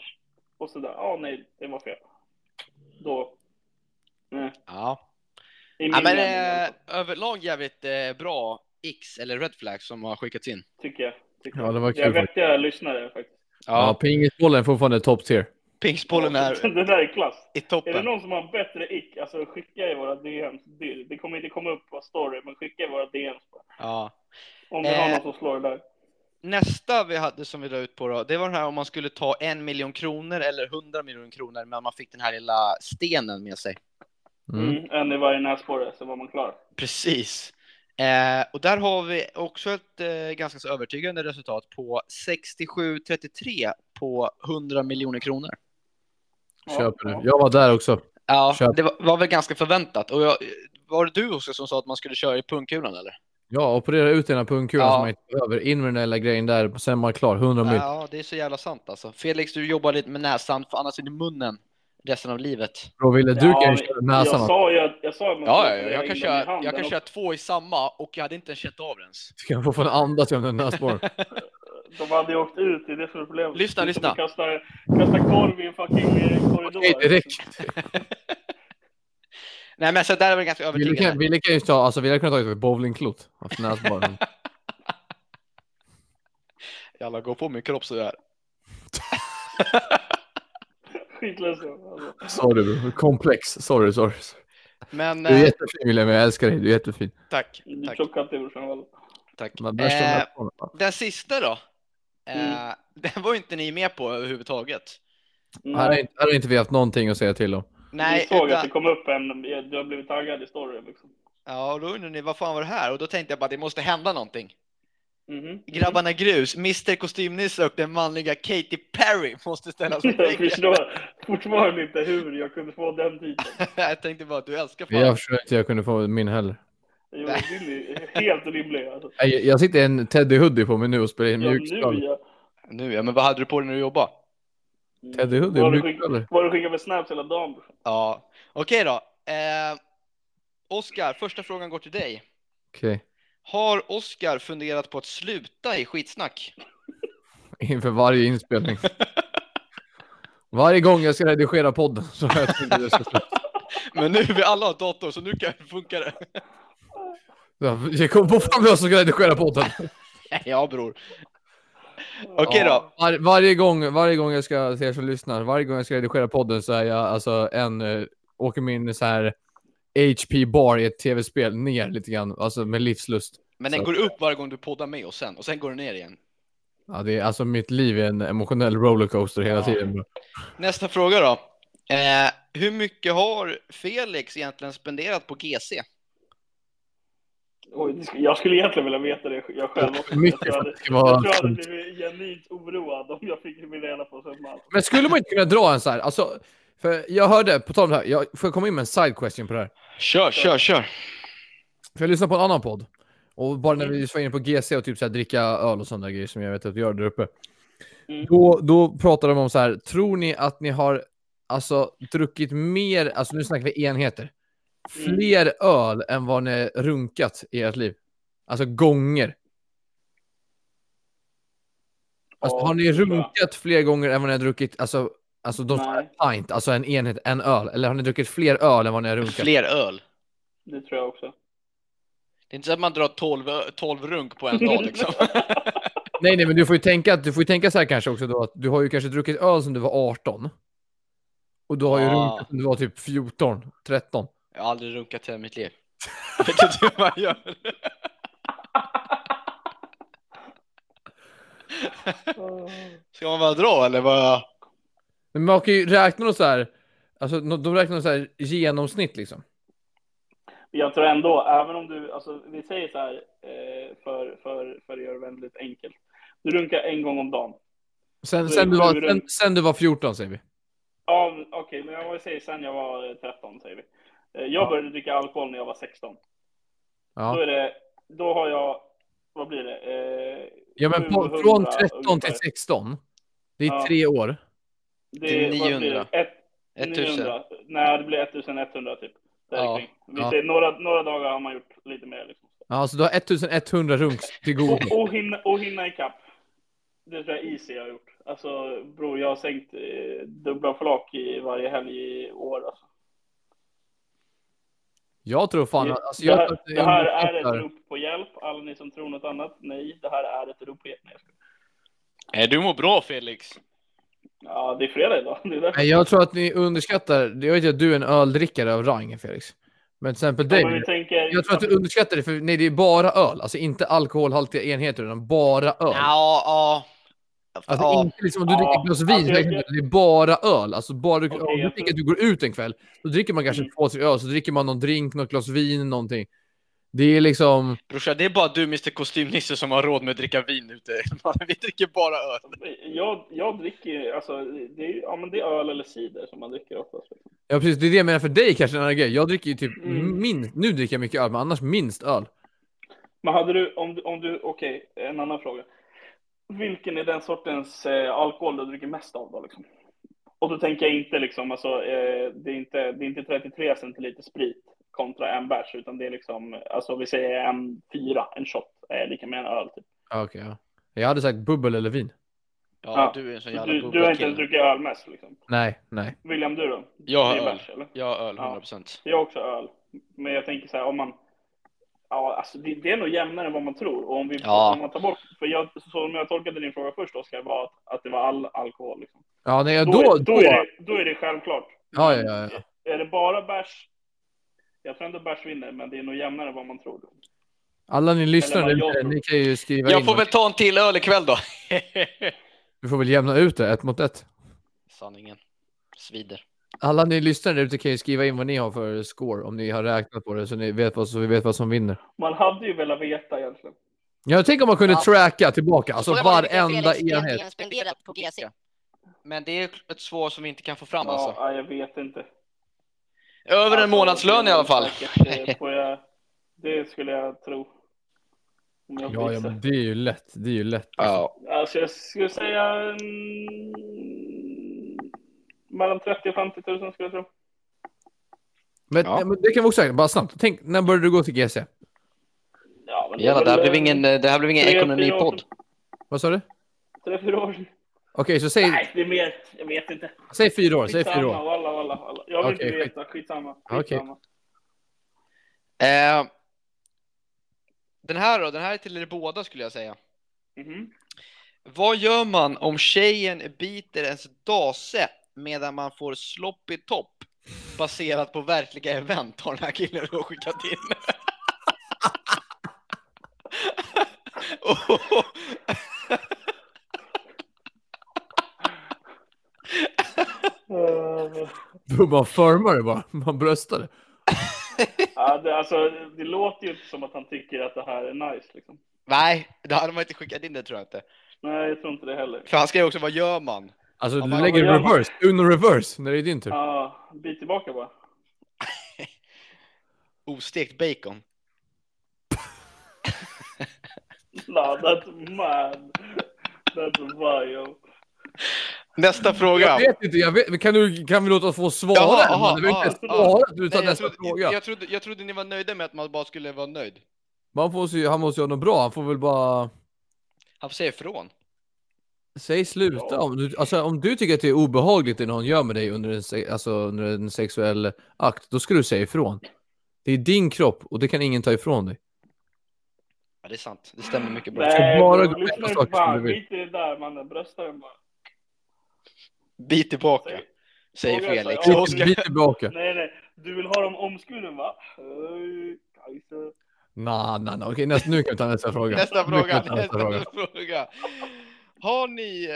Och sådär, ja ah, nej, det var fel. Då. Ja. I min Ja, men mening, eh, överlag jävligt eh, bra X eller Red Flag som har skickats in. tycker jag. Tycker Ja, det jag. var Jag kul. är faktiskt. vettiga lyssnare faktiskt. Ja, Ja, pingisbollen är fortfarande top tier. pingsbollen är Det där är klass. i Är det toppen. någon som har bättre ick, alltså skicka i våra DMs. Det, det kommer inte komma upp på story, men skicka i våra DMs. bara. Ja. Om du har Eh. någon som slår där. Nästa vi hade som vi la ut på då, det var den här om man skulle ta en miljon kronor eller hundra miljoner kronor, men man fick den här lilla stenen med sig. Mm. Mm. En i varje näsborre, så var man klar. Precis. Eh, och där har vi också ett eh, ganska så övertygande resultat på 67-33 på 100 miljoner kronor. Ja, Köper ja. du. Jag var där också. Ja, Köp. det var, var väl ganska förväntat. Och jag, var det du också som sa att man skulle köra i pungkulan eller? Ja, operera ut ena pungkulan Ja. som man inte behöver. In med den där lilla grejen där, sen är man klar. 100 mil. Ja, det är så jävla sant alltså. Felix, du jobbar lite med näsan, för annars är det munnen resten av livet. Bro, Wille, du kan ju men köra jag näsan också. sa ju att, jag sa att man Ja, skulle ja, lägga jag in kan dem i köra, handen jag kan och- köra två i samma och jag hade inte ens känt av det ens. Du kan få fan andas genom den näsborren. De hade ju åkt ut, det är det som är problemet. Lyssna, Det är som lyssna. att Kasta, kasta korv i en fucking eh, korridor. Okej, direkt. Nej, men så där är väl ganska Wille kan, övertygande. Wille kan ju ta, alltså vi hade kunnat ta ett bowlingklot. Haft näsborren. Jalla, gå på min kropp sådär. Skitlösa. Alltså. Sorry bro, komplex. Sorry, sorry. sorry. Men Du är eh, jättefin William, jag älskar dig. Du är jättefin. tack, Du tack, chockade till brorsan. väl? tack. Men värst av Eh, näsborren, va? Den sista då? Mm. Eh, den var ju inte ni med på överhuvudtaget. Här har inte- här har inte vi haft någonting att säga till om. Nej, du Mm. såg utan- att det kom upp en, du har blivit taggad i storyn liksom. ja, och då undrar ni vad fan var det här? Och då tänkte jag bara det måste hända någonting. Mhm. Grabbarna Grus, Mr Kostymnisse och den manliga Katy Perry måste ställas mot Jag väggen. förstår fortfarande inte hur jag kunde få den titeln. jag tänkte bara du älskar fan. Jag försökte, jag kunde få min heller. Det var rimlig- helt rimlig. Alltså. Nej, Jag, jag sitter i en Teddy Hoodie på mig nu och spelar in Ja, nu mjukskall. ja. Nu ja, men vad hade du på dig när du jobbade? Teddy Hoodie och Var du skick- mjukskall. var du skickade med snaps hela dagen? brorsan? Ja, okej då. Eh, Oskar, första frågan går till dig. Okej. Har Oskar funderat på att sluta i skitsnack? Inför varje inspelning. Varje gång jag ska redigera podden så har jag tänkt att jag ska sluta. Men nu vi alla har dator så nu kan funka det. Så, Jag kom på fan vem som ska redigera podden. Ja bror. Okej då. Var, varje, gång, varje gång jag ska, till er som lyssnar, varje gång jag ska redigera podden så är jag alltså en, eh, åker min så här HP bar i ett tv-spel ner lite grann, alltså med livslust. Men den Så- går upp varje gång du poddar med oss sen och sen går den ner igen. Ja, det är, alltså mitt liv är en emotionell rollercoaster hela Ja. tiden. Nästa fråga då. Eh, hur mycket har Felix egentligen spenderat på GC? Oj, det sk- jag skulle egentligen vilja veta det jag själv också. Jag Mycket tror jag hade, faktiskt jag var... tror jag hade blivit genuint oroad om jag fick reda på summan. Men skulle man inte kunna dra en så här, alltså, för jag hörde, på tal om det här, jag, får jag komma in med en side question på det här? Kör, kör, kör. För jag lyssnade på en annan podd. Och bara Mm. när vi var inne på GC och typ så här dricka öl och sådana grejer som jag vet att vi gör där uppe. Mm. Då, då pratade de om så här, tror ni att ni har alltså druckit mer, alltså nu snackar vi enheter, Mm. fler öl än vad ni runkat i ert liv? Alltså gånger. Alltså, Ja, har ni det tror jag. runkat fler gånger än vad ni har druckit, alltså, alltså de Nej, pint, alltså en enhet, en öl? Eller har ni druckit fler öl än vad ni har runkat? Fler öl. det tror jag också. Det är inte så att man drar 12, ö- 12 runk på en dag liksom. Nej, nej, men du får ju tänka, att- du får ju tänka så här kanske också då att du har ju kanske druckit öl som du var 18. Och du har ju Ah. runkat som du var typ 14, 13. Jag har aldrig runkat i hela mitt liv. Vet inte hur man gör. Ska man bara dra eller vad? Men man kan ju räkna något så här, alltså nå- de räknar något så här genomsnitt liksom. Jag tror ändå, även om du, alltså vi säger så här, eh, för, för, för att göra det väldigt enkelt. Du runkar en gång om dagen. Sen, Så det är sen, du, var, sju sen, runk. sen du var 14 säger vi. Ja, men okej, men jag säger sen jag var eh, 13 säger vi. Eh, Jag började dricka alkohol när jag var 16. Då Ja, är det, då har jag, vad blir det? Eh, ja men på, 700 från 13 ungefär. till 16. Det är Ja. tre år. Det Till är, vad blir det? 900. Ett, 1000. 900. Nej, det blir 1100 typ. Där Ja, kring. Vi ja. säger, några, några dagar har man gjort lite mer. Liksom. Ja, så du har 1100 runks till godo. Och, och, hinna, och hinna ikapp. Det tror jag easy jag har gjort. Alltså bror, jag har sänkt eh, dubbla flak i varje helg i år. Alltså. Jag tror fan... Det- Alltså, det jag, här, tror att det här är underskattar- ett rop på hjälp. Alla ni som tror något annat, nej, det här är ett rop på hjälp. Nej, jag skojar. Nej, du mår bra Felix. Ja, det är fredag idag. Det är därför. Nej, jag tror att ni underskattar, jag vet ju att du är en öldrickare av rang Felix. Men till exempel dig, Ja, men vi tänker, jag tror att du underskattar det för nej, det är bara öl, alltså inte alkoholhaltiga enheter utan bara öl. Ja, ja. Alltså ja. inte liksom om du Ja. dricker ett glas vin, Alltså, jag- så är det är bara öl. Alltså bara du, Okej, om du jag tänker att du går ut en kväll, då dricker man kanske Mm. två, tre öl, så dricker man någon drink, något glas vin, någonting. Det är liksom, Brorsan, det är bara du Mr Kostymnisse som har råd med att dricka vin ute. Vi dricker bara öl. jag, jag dricker ju, alltså, det är, ja, men det är öl eller cider som man dricker oftast. Liksom. ja precis, det är det jag menar för dig kanske en annan grej. Jag dricker ju typ Mm. minst, nu dricker jag mycket öl, men annars minst öl. Men hade du, om du, om du okej, en annan fråga. Vilken är den sortens eh, alkohol du dricker mest av då liksom? Och då tänker jag inte liksom, alltså, eh, det, är inte, det är inte 33 centiliter sprit kontra en bärs, utan det är liksom, alltså vi säger en fyra, en shot, eh, lika med en öl typ. Ja, Okej, ja. Jag hade sagt bubbel eller vin. Ja, Ja. du är en sån Du, jävla du har inte ens bubbelkille. druckit öl mest liksom. Nej, nej. William, du då? Jag har Det är öl. bärs, eller? Jag har öl, Ja. 100%. Jag har också öl. Men jag tänker så här, om man... Ja, alltså det, det är nog jämnare än vad man tror. Och om, vi, Ja. om man tar bort... För jag, som jag tolkade din fråga först, Oskar, var att, att det var all alkohol. Liksom. Ja, nej, då... Då, då, är, då, är det, då är det självklart. Ja, ja, ja, ja. Är det bara bärs... Jag tror ändå bärs vinner, men det är nog jämnare än vad man tror. Alla ni lyssnare, Eller vad jag ni, tror. ni kan ju skriva Jag in. får väl ta en till öl ikväll då. Vi får väl jämna ut det, ett mot ett. Sanningen. Svider. Alla ni lyssnare där ute kan ju skriva in vad ni har för score, om ni har räknat på det, så, ni vet vad, så vi vet vad som vinner. Man hade ju velat veta egentligen. Jag tänker om man kunde Ja. tracka tillbaka, alltså Så det var varenda enhet. spenderat på GC. Men det är ett svar som vi inte kan få fram Ja, alltså. ja, jag vet inte. Över en Alltså, månadslön i alla fall. säkert, eh, får jag- Det skulle jag tro. Om jag Ja, ja, gissar. men det är ju lätt. Det är ju lätt. Ja. Alltså jag skulle säga mm, mellan 30 och 50 tusen skulle jag tro. Men, Ja. men det kan vi också säga, bara snabbt. Tänk, när började du gå till GC? Ja, men Jävlar, det här väl, eh, blev ingen, det här blev ingen tre, fyra år ekonomipodd. sedan. Vad sa du? Tre, Okej, fyra år sedan. så säg, Nej, det är mer. Jag vet inte. säg fyra år. Säg fyra år. Walla, walla, walla. Jag vill Okej, inte skit. veta. Skitsamma. Okej. skitsamma. Eh, den här då, den här är till er båda skulle jag säga. Mhm. Vad gör man om tjejen biter ens dase medan man får sloppy topp baserat på verkliga event har den här killen då skickat in? Och- Eh, Man förmar det bara. Man bröstar det. ja, det, alltså, det låter ju inte som att han tycker att det här är nice. Liksom. Nej, då hade man inte skickat in det tror jag inte. Nej, jag tror inte det heller. För han skrev också vad gör man? Alltså, Ja, du men lägger vad gör man? reverse. Uno reverse, när det är din tur. Ja, bit tillbaka bara. Ostekt bacon. No, that's mad. That's wild. Nästa fråga. Jag vet inte, jag vet, men kan, du, kan vi låta oss få svara? Jaha, Jaha, jaha, man behöver inte ens jaha. svara att du tar Nej, jag, nästa trodde, fråga. jag, trodde, jag trodde ni var nöjda med att man bara skulle vara nöjd. Man får se, han måste göra något bra, han får väl bara... Han får säga ifrån. Säg sluta. Ja. Om, du, alltså, om du tycker att det är obehagligt det någon gör med dig under en, se- alltså, under en sexuell akt, då ska du säga ifrån. Det är din kropp och det kan ingen ta ifrån dig. Ja, det är sant. Det stämmer mycket bra. Nej, bara bara gå lyssna på inte saker på som han. du vill. Skit i det där mannen. Brösta den bara. Bit tillbaka, Säg- säger fråga, Felix. så jag- Och Oskar- Bit tillbaka. Nej, nej. Du vill ha dem omskurna va? Öj, Kajsa. Nej, nej, nej. Okej, nästa, nu kan vi ta nästa fråga. Nästa Nu kan fråga. vi ta nästa fråga. Nästa fråga. Har ni,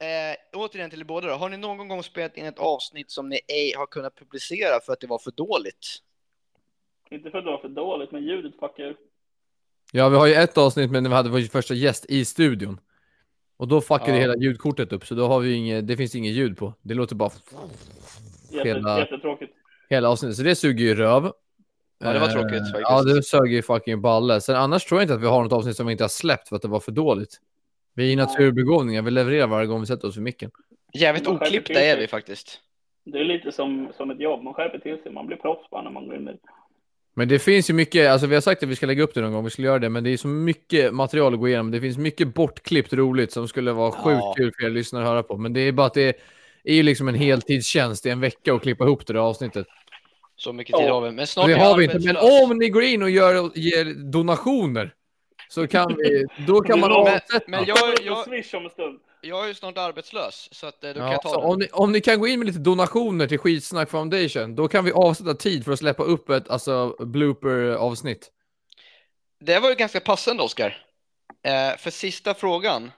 eh, återigen till er båda då, har ni någon gång spelat in ett avsnitt som ni ej har kunnat publicera för att det var för dåligt? Inte för att det var för dåligt, men ljudet fuckar ur. Ja, vi har ju ett avsnitt men när vi hade vår första gäst i studion. Och då fuckade Ja. hela ljudkortet upp, så då har vi ju inget, det finns inget ljud på. Det låter bara Jätte, Hela- Jättetråkigt. hela avsnittet, så det suger ju röv. Ja, det var Eh, tråkigt faktiskt. Ja, det sög ju fucking balle. Sen annars tror jag inte att vi har något avsnitt som vi inte har släppt för att det var för dåligt. Vi är naturbegåvningar, vi levererar varje gång vi sätter oss vid micken. Jävligt Man skärper oklippta till är sig. vi faktiskt. Det är lite som, som ett jobb. Man skärper till sig. Man blir proffs bara när man går in i det. Men det finns ju mycket, alltså vi har sagt att vi ska lägga upp det någon gång, vi skulle göra det, men det är så mycket material att gå igenom. Det finns mycket bortklippt roligt som skulle vara sjukt Ja. kul för er lyssnare att höra på. Men det är bara att det är ju liksom en heltidstjänst i en vecka att klippa ihop det där avsnittet. Så mycket tid Ja. har vi. Men snart Och det är har vi inte, men arbetslös. om ni går in och gör, ger donationer så kan vi, då kan man Men- avsätta. Men jag, Jag... jag, Swish om en stund. jag är ju snart arbetslös, så att, eh, då kan Ja, jag så ta den. om, ni, om ni kan gå in med lite donationer till Skitsnack Foundation, då kan vi avsätta tid för att släppa upp ett alltså, blooper-avsnitt. Det var ju ganska passande, Oskar. Eh, för sista frågan,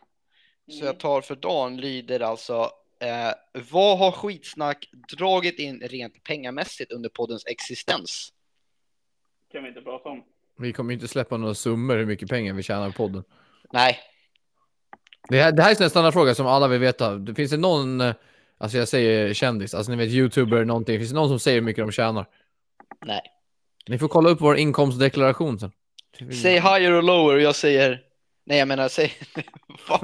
så Mm. jag tar för dagen, lyder alltså eh, Vad har skitsnack dragit in rent pengamässigt under poddens existens? kan vi inte prata om. Vi kommer ju inte släppa några summor hur mycket pengar vi tjänar på podden. Nej, Det här, det här är en standardfråga som alla vill veta. Det finns det någon, eh, alltså jag säger kändis, alltså ni vet youtuber eller någonting, finns det någon som säger hur mycket de tjänar? Nej. Ni får kolla upp vår inkomstdeklaration sen. Säg higher och lower och jag säger... Nej, jag menar säg... Fan.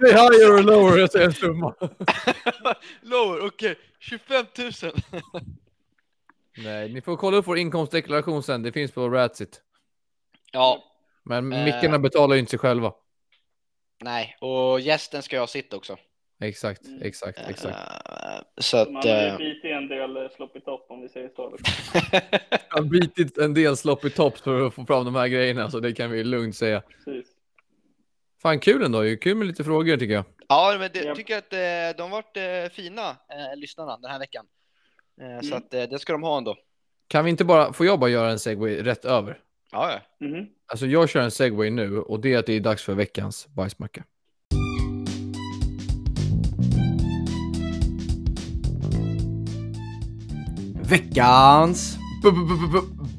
Säg higher or lower, jag säger en summa. lower, okej. 25 000. Nej, ni får kolla upp vår inkomstdeklaration sen. Det finns på Ratsit. Ja, Men Eh. mickarna betalar ju inte sig själva. nej. Och gästen ska jag ha sitt också. Exakt, Mm. exakt, exakt. Eh, Så Man att... har ju eh, bitit en del eh, sloppy top om vi säger så. liksom. Jag har bitit en del sloppy tops för att få fram de här grejerna, så det kan vi lugnt säga. Precis. Fan, kul ändå. ju. Kul med lite frågor tycker jag. Ja, men det Ja. tycker jag att eh, de varit eh, fina, eh, lyssnarna, den här veckan. Eh, Så Mm. att eh, det ska de ha ändå. Kan vi inte bara, får jag bara göra en segway rätt över? Ja, ja. Mhm. Alltså jag kör en segway nu och det är att det är dags för veckans bajsmacka. Veckans...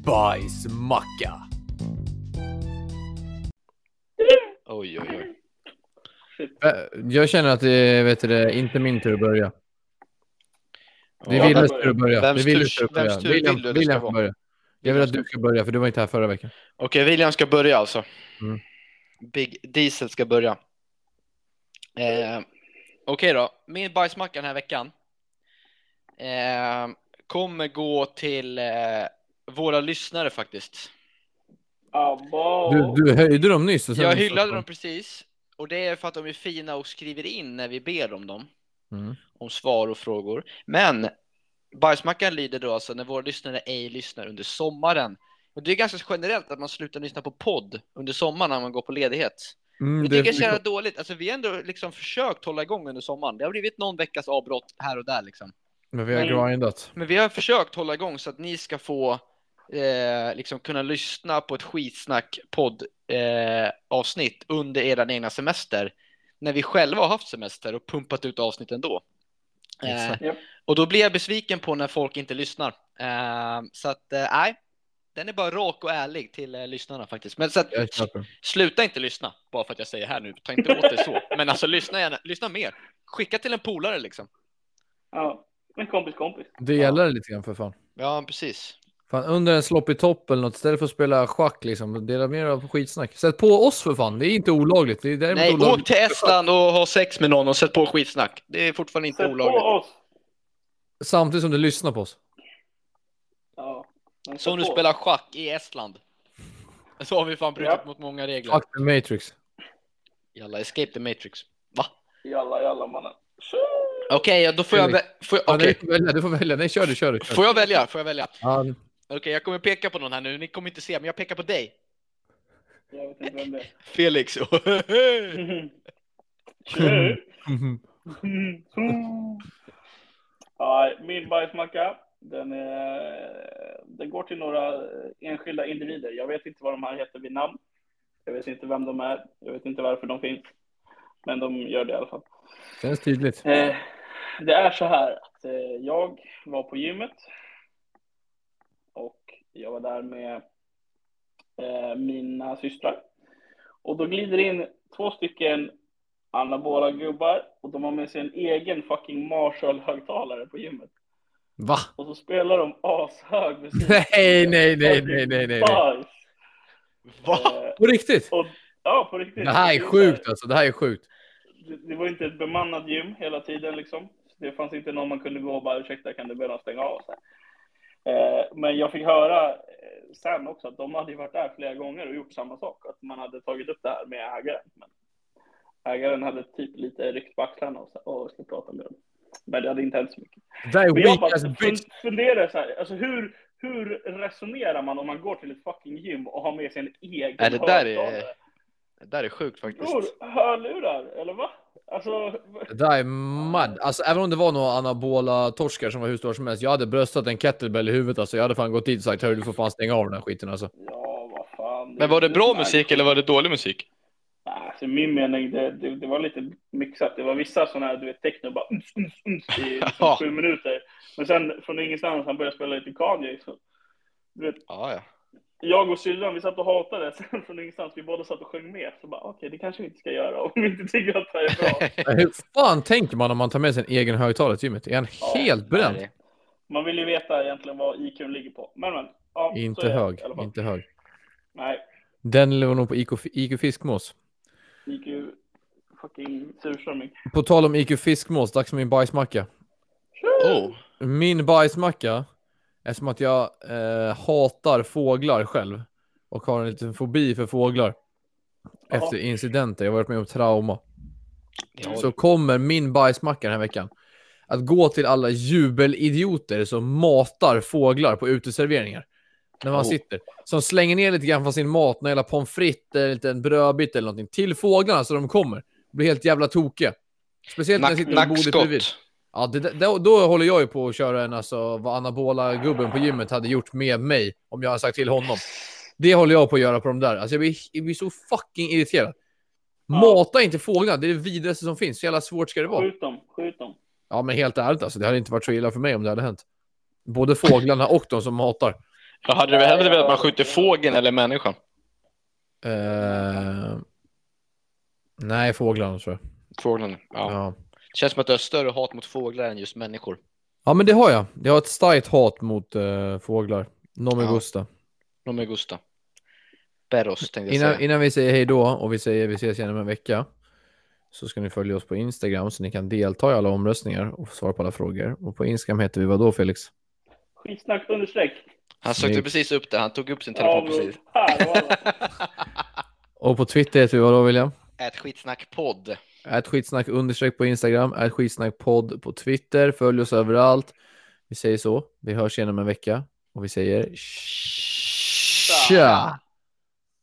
Bajsmacka. Oj, oj, oj. Jag känner att det är vet du, det, inte min tur att börja. Det Ja, är Willes där- tur att börja. Det är Vems tur- Willes tur att börja. vems tur William, vill du det William ska vara? får börja. Jag vill att du ska börja för du var inte här förra veckan. Okej, William ska börja alltså. Mm. Big Diesel ska börja. Eh, Okej då, min bajsmacka den här veckan eh, kommer gå till eh, våra lyssnare faktiskt. Abba. Du, du höjde dem nyss. Och sen Jag hyllade dem precis och det är för att de är fina och skriver in när vi ber om dem. Mm. om svar och frågor. Men bajsmackan lyder då alltså när våra lyssnare ej lyssnar under sommaren. Och det är ganska generellt att man slutar lyssna på podd under sommaren när man går på ledighet. Mm, Det tycker det, jag känns dåligt. Alltså, vi har ändå liksom försökt hålla igång under sommaren. Det har blivit någon veckas avbrott här och där liksom. men vi har Mm. grindat. Men vi har försökt hålla igång så att ni ska få eh, liksom kunna lyssna på ett skitsnack podd eh, avsnitt under era egna semester när vi själva har haft semester och pumpat ut avsnitt ändå. Eh, Exakt. Japp. och då blir jag besviken på när folk inte lyssnar. Eh, så att eh, nej, den är bara rak och ärlig till eh, lyssnarna faktiskt. Men så att, Jag köper. Sluta inte lyssna bara för att jag säger här nu. Ta inte åt det så. Men alltså lyssna gärna, lyssna mer. Skicka till en polare liksom. Ja, en kompis kompis. Det gäller lite grann för fan. Ja, precis. Fan, under en sloppy topp eller något, istället för att spela schack liksom, dela med er av skitsnack. Sätt på oss för fan, det är inte olagligt. Det är däremot Nej, åk olagligt. till Estland och ha sex med någon och sätt på skitsnack. Det är fortfarande inte Sätt olagligt. på oss. Samtidigt som du lyssnar på oss. Ja. men Som sätt du på oss. spelar schack i Estland. Så har vi fan brutit Ja. mot många regler. Fuck the Matrix. Jalla, escape the matrix. Va? Jalla, jalla mannen. Tjo! Okej, då får jag, vä- får, jag, Ja, nej, okej. du får välja, du får välja. Nej, kör du, kör du. Kör. får jag välja? Får jag välja? Ja, Okej, jag kommer peka på någon här nu. Ni kommer inte se, men jag pekar på dig. Jag vet inte vem det är. Felix. Mhm. Tjo! Mm. Ja, min bajsmacka, den, är, den går till några enskilda individer. Jag vet inte vad de här heter vid namn. Jag vet inte vem de är. Jag vet inte varför de finns. Men de gör det i alla fall. känns tydligt. Eh, det är så här att eh, jag var på gymmet och jag var där med eh, mina systrar. Och då glider in två stycken anabola gubbar och de har med sig en egen fucking Marshall-högtalare på gymmet. Va? Och så spelar de ashög musik. Nej, nej, nej, nej, nej, nej. nej. Bajs. Va? Eh, På riktigt? och, ja, på riktigt. Det här är sjukt alltså, det här är sjukt. det, det var inte ett bemannat gym hela tiden liksom. Så det fanns inte någon man kunde gå och bara ursäkta kan du be dem stänga av? Så här. Eh, men jag fick höra eh, sen också att de hade ju varit där flera gånger och gjort samma sak. Att man hade tagit upp det här med ägaren. Men ägaren hade typ lite ryckt på axlarna och, så här, "Åh, jag ska prata med dem. Men det hade inte hänt så mycket. Det där är Men jag weak bara as bitch. fun- funderar så här, alltså hur, hur resonerar man om man går till ett fucking gym och har med sig en egen Nej, det där är- högtalare? Det där är sjukt faktiskt. Bror, hörlurar, eller va? Alltså, Det där är mad. Alltså även om det var några anabola torskar som var hur stora som helst. Jag hade bröstat en kettlebell i huvudet alltså. Jag hade fan gått dit och sagt hörru du får fan stänga av den här skiten alltså. Ja, vad fan. Men var det bra Nej. musik eller var det dålig musik? Nej, alltså, i min mening, det, det, det var lite mixat. Det var vissa sådana här, du vet, techno bara uns, uns, uns, i liksom, Ja. sju minuter. Men sen från ingenstans, han började spela lite Kanye. Så, du vet, Ja, ja. jag och syrran, vi satt och hatade. Sen från ingenstans, vi båda satt och sjöng med. Så bara, okej, det kanske vi inte ska göra om vi inte tycker att det här är bra. Men Hur fan tänker man om man tar med sig en egen högtalare till gymmet? Är han Ja, helt bränd? Man vill ju veta egentligen vad IQ ligger på. Men, men. Ja, så Inte är det, hög, i alla fall. inte hög. Nej, Den låg nog på IQ, Fi- IQ Fiskmås. gick ju fucking surströmming. På tal om IQ Fiskmås, dags för min bajsmacka. Oh. Min bajsmacka, eftersom att jag eh, hatar fåglar själv och har en liten fobi för fåglar. Jaha. Efter incidenter, jag har varit med om trauma. Det har- så kommer min bajsmacka den här veckan att gå till alla jubelidioter som matar fåglar på uteserveringar. När man Oh. sitter. Som slänger ner lite grann från sin mat, några jävla pommes frites eller en liten brödbit eller någonting. Till fåglarna så de kommer. Blir helt jävla tokiga. Speciellt när jag Nack, sitter med bordet bredvid. nackskott. Ja, det, då, då håller jag ju på att köra en alltså vad anabola-gubben på gymmet hade gjort med mig om jag hade sagt till honom. Det håller jag på att göra på de där. Alltså jag blir, jag blir så fucking irriterad. Ja. Mata inte fåglarna, det är det vidrigaste som finns. Så jävla svårt ska det Mm. vara. Skjut dem, skjut dem. Ja, men helt ärligt alltså, det hade inte varit så illa för mig om det hade hänt. Både fåglarna och de som matar. Jag hade väl hellre velat att man skjuter fågeln eller människan. Eh, Nej, fåglarna tror jag. Fågeln, ja. Ja. Det känns som att du har större hat mot fåglar än just människor. ja, men det har jag. Jag har ett starkt hat mot eh, fåglar. Nom Ja. gusta. De är Gusta. Beros tänkte jag Innan, säga. innan vi säger hej då och vi säger vi ses igen om en vecka så ska ni följa oss på Instagram så ni kan delta i alla omröstningar och få svar på alla frågor. Och på Instagram heter vi vad då Felix? Skitsnack understreck. Han sökte Snyggt. precis upp det, han tog upp sin telefon bro. precis. Här, voilà. Och på Twitter heter vi vad då William? Ät skitsnack podd. Ät skitsnack understreck på Instagram, ät skitsnack podd på Twitter, följ oss överallt. Vi säger så, vi hörs igen om en vecka och vi säger tja!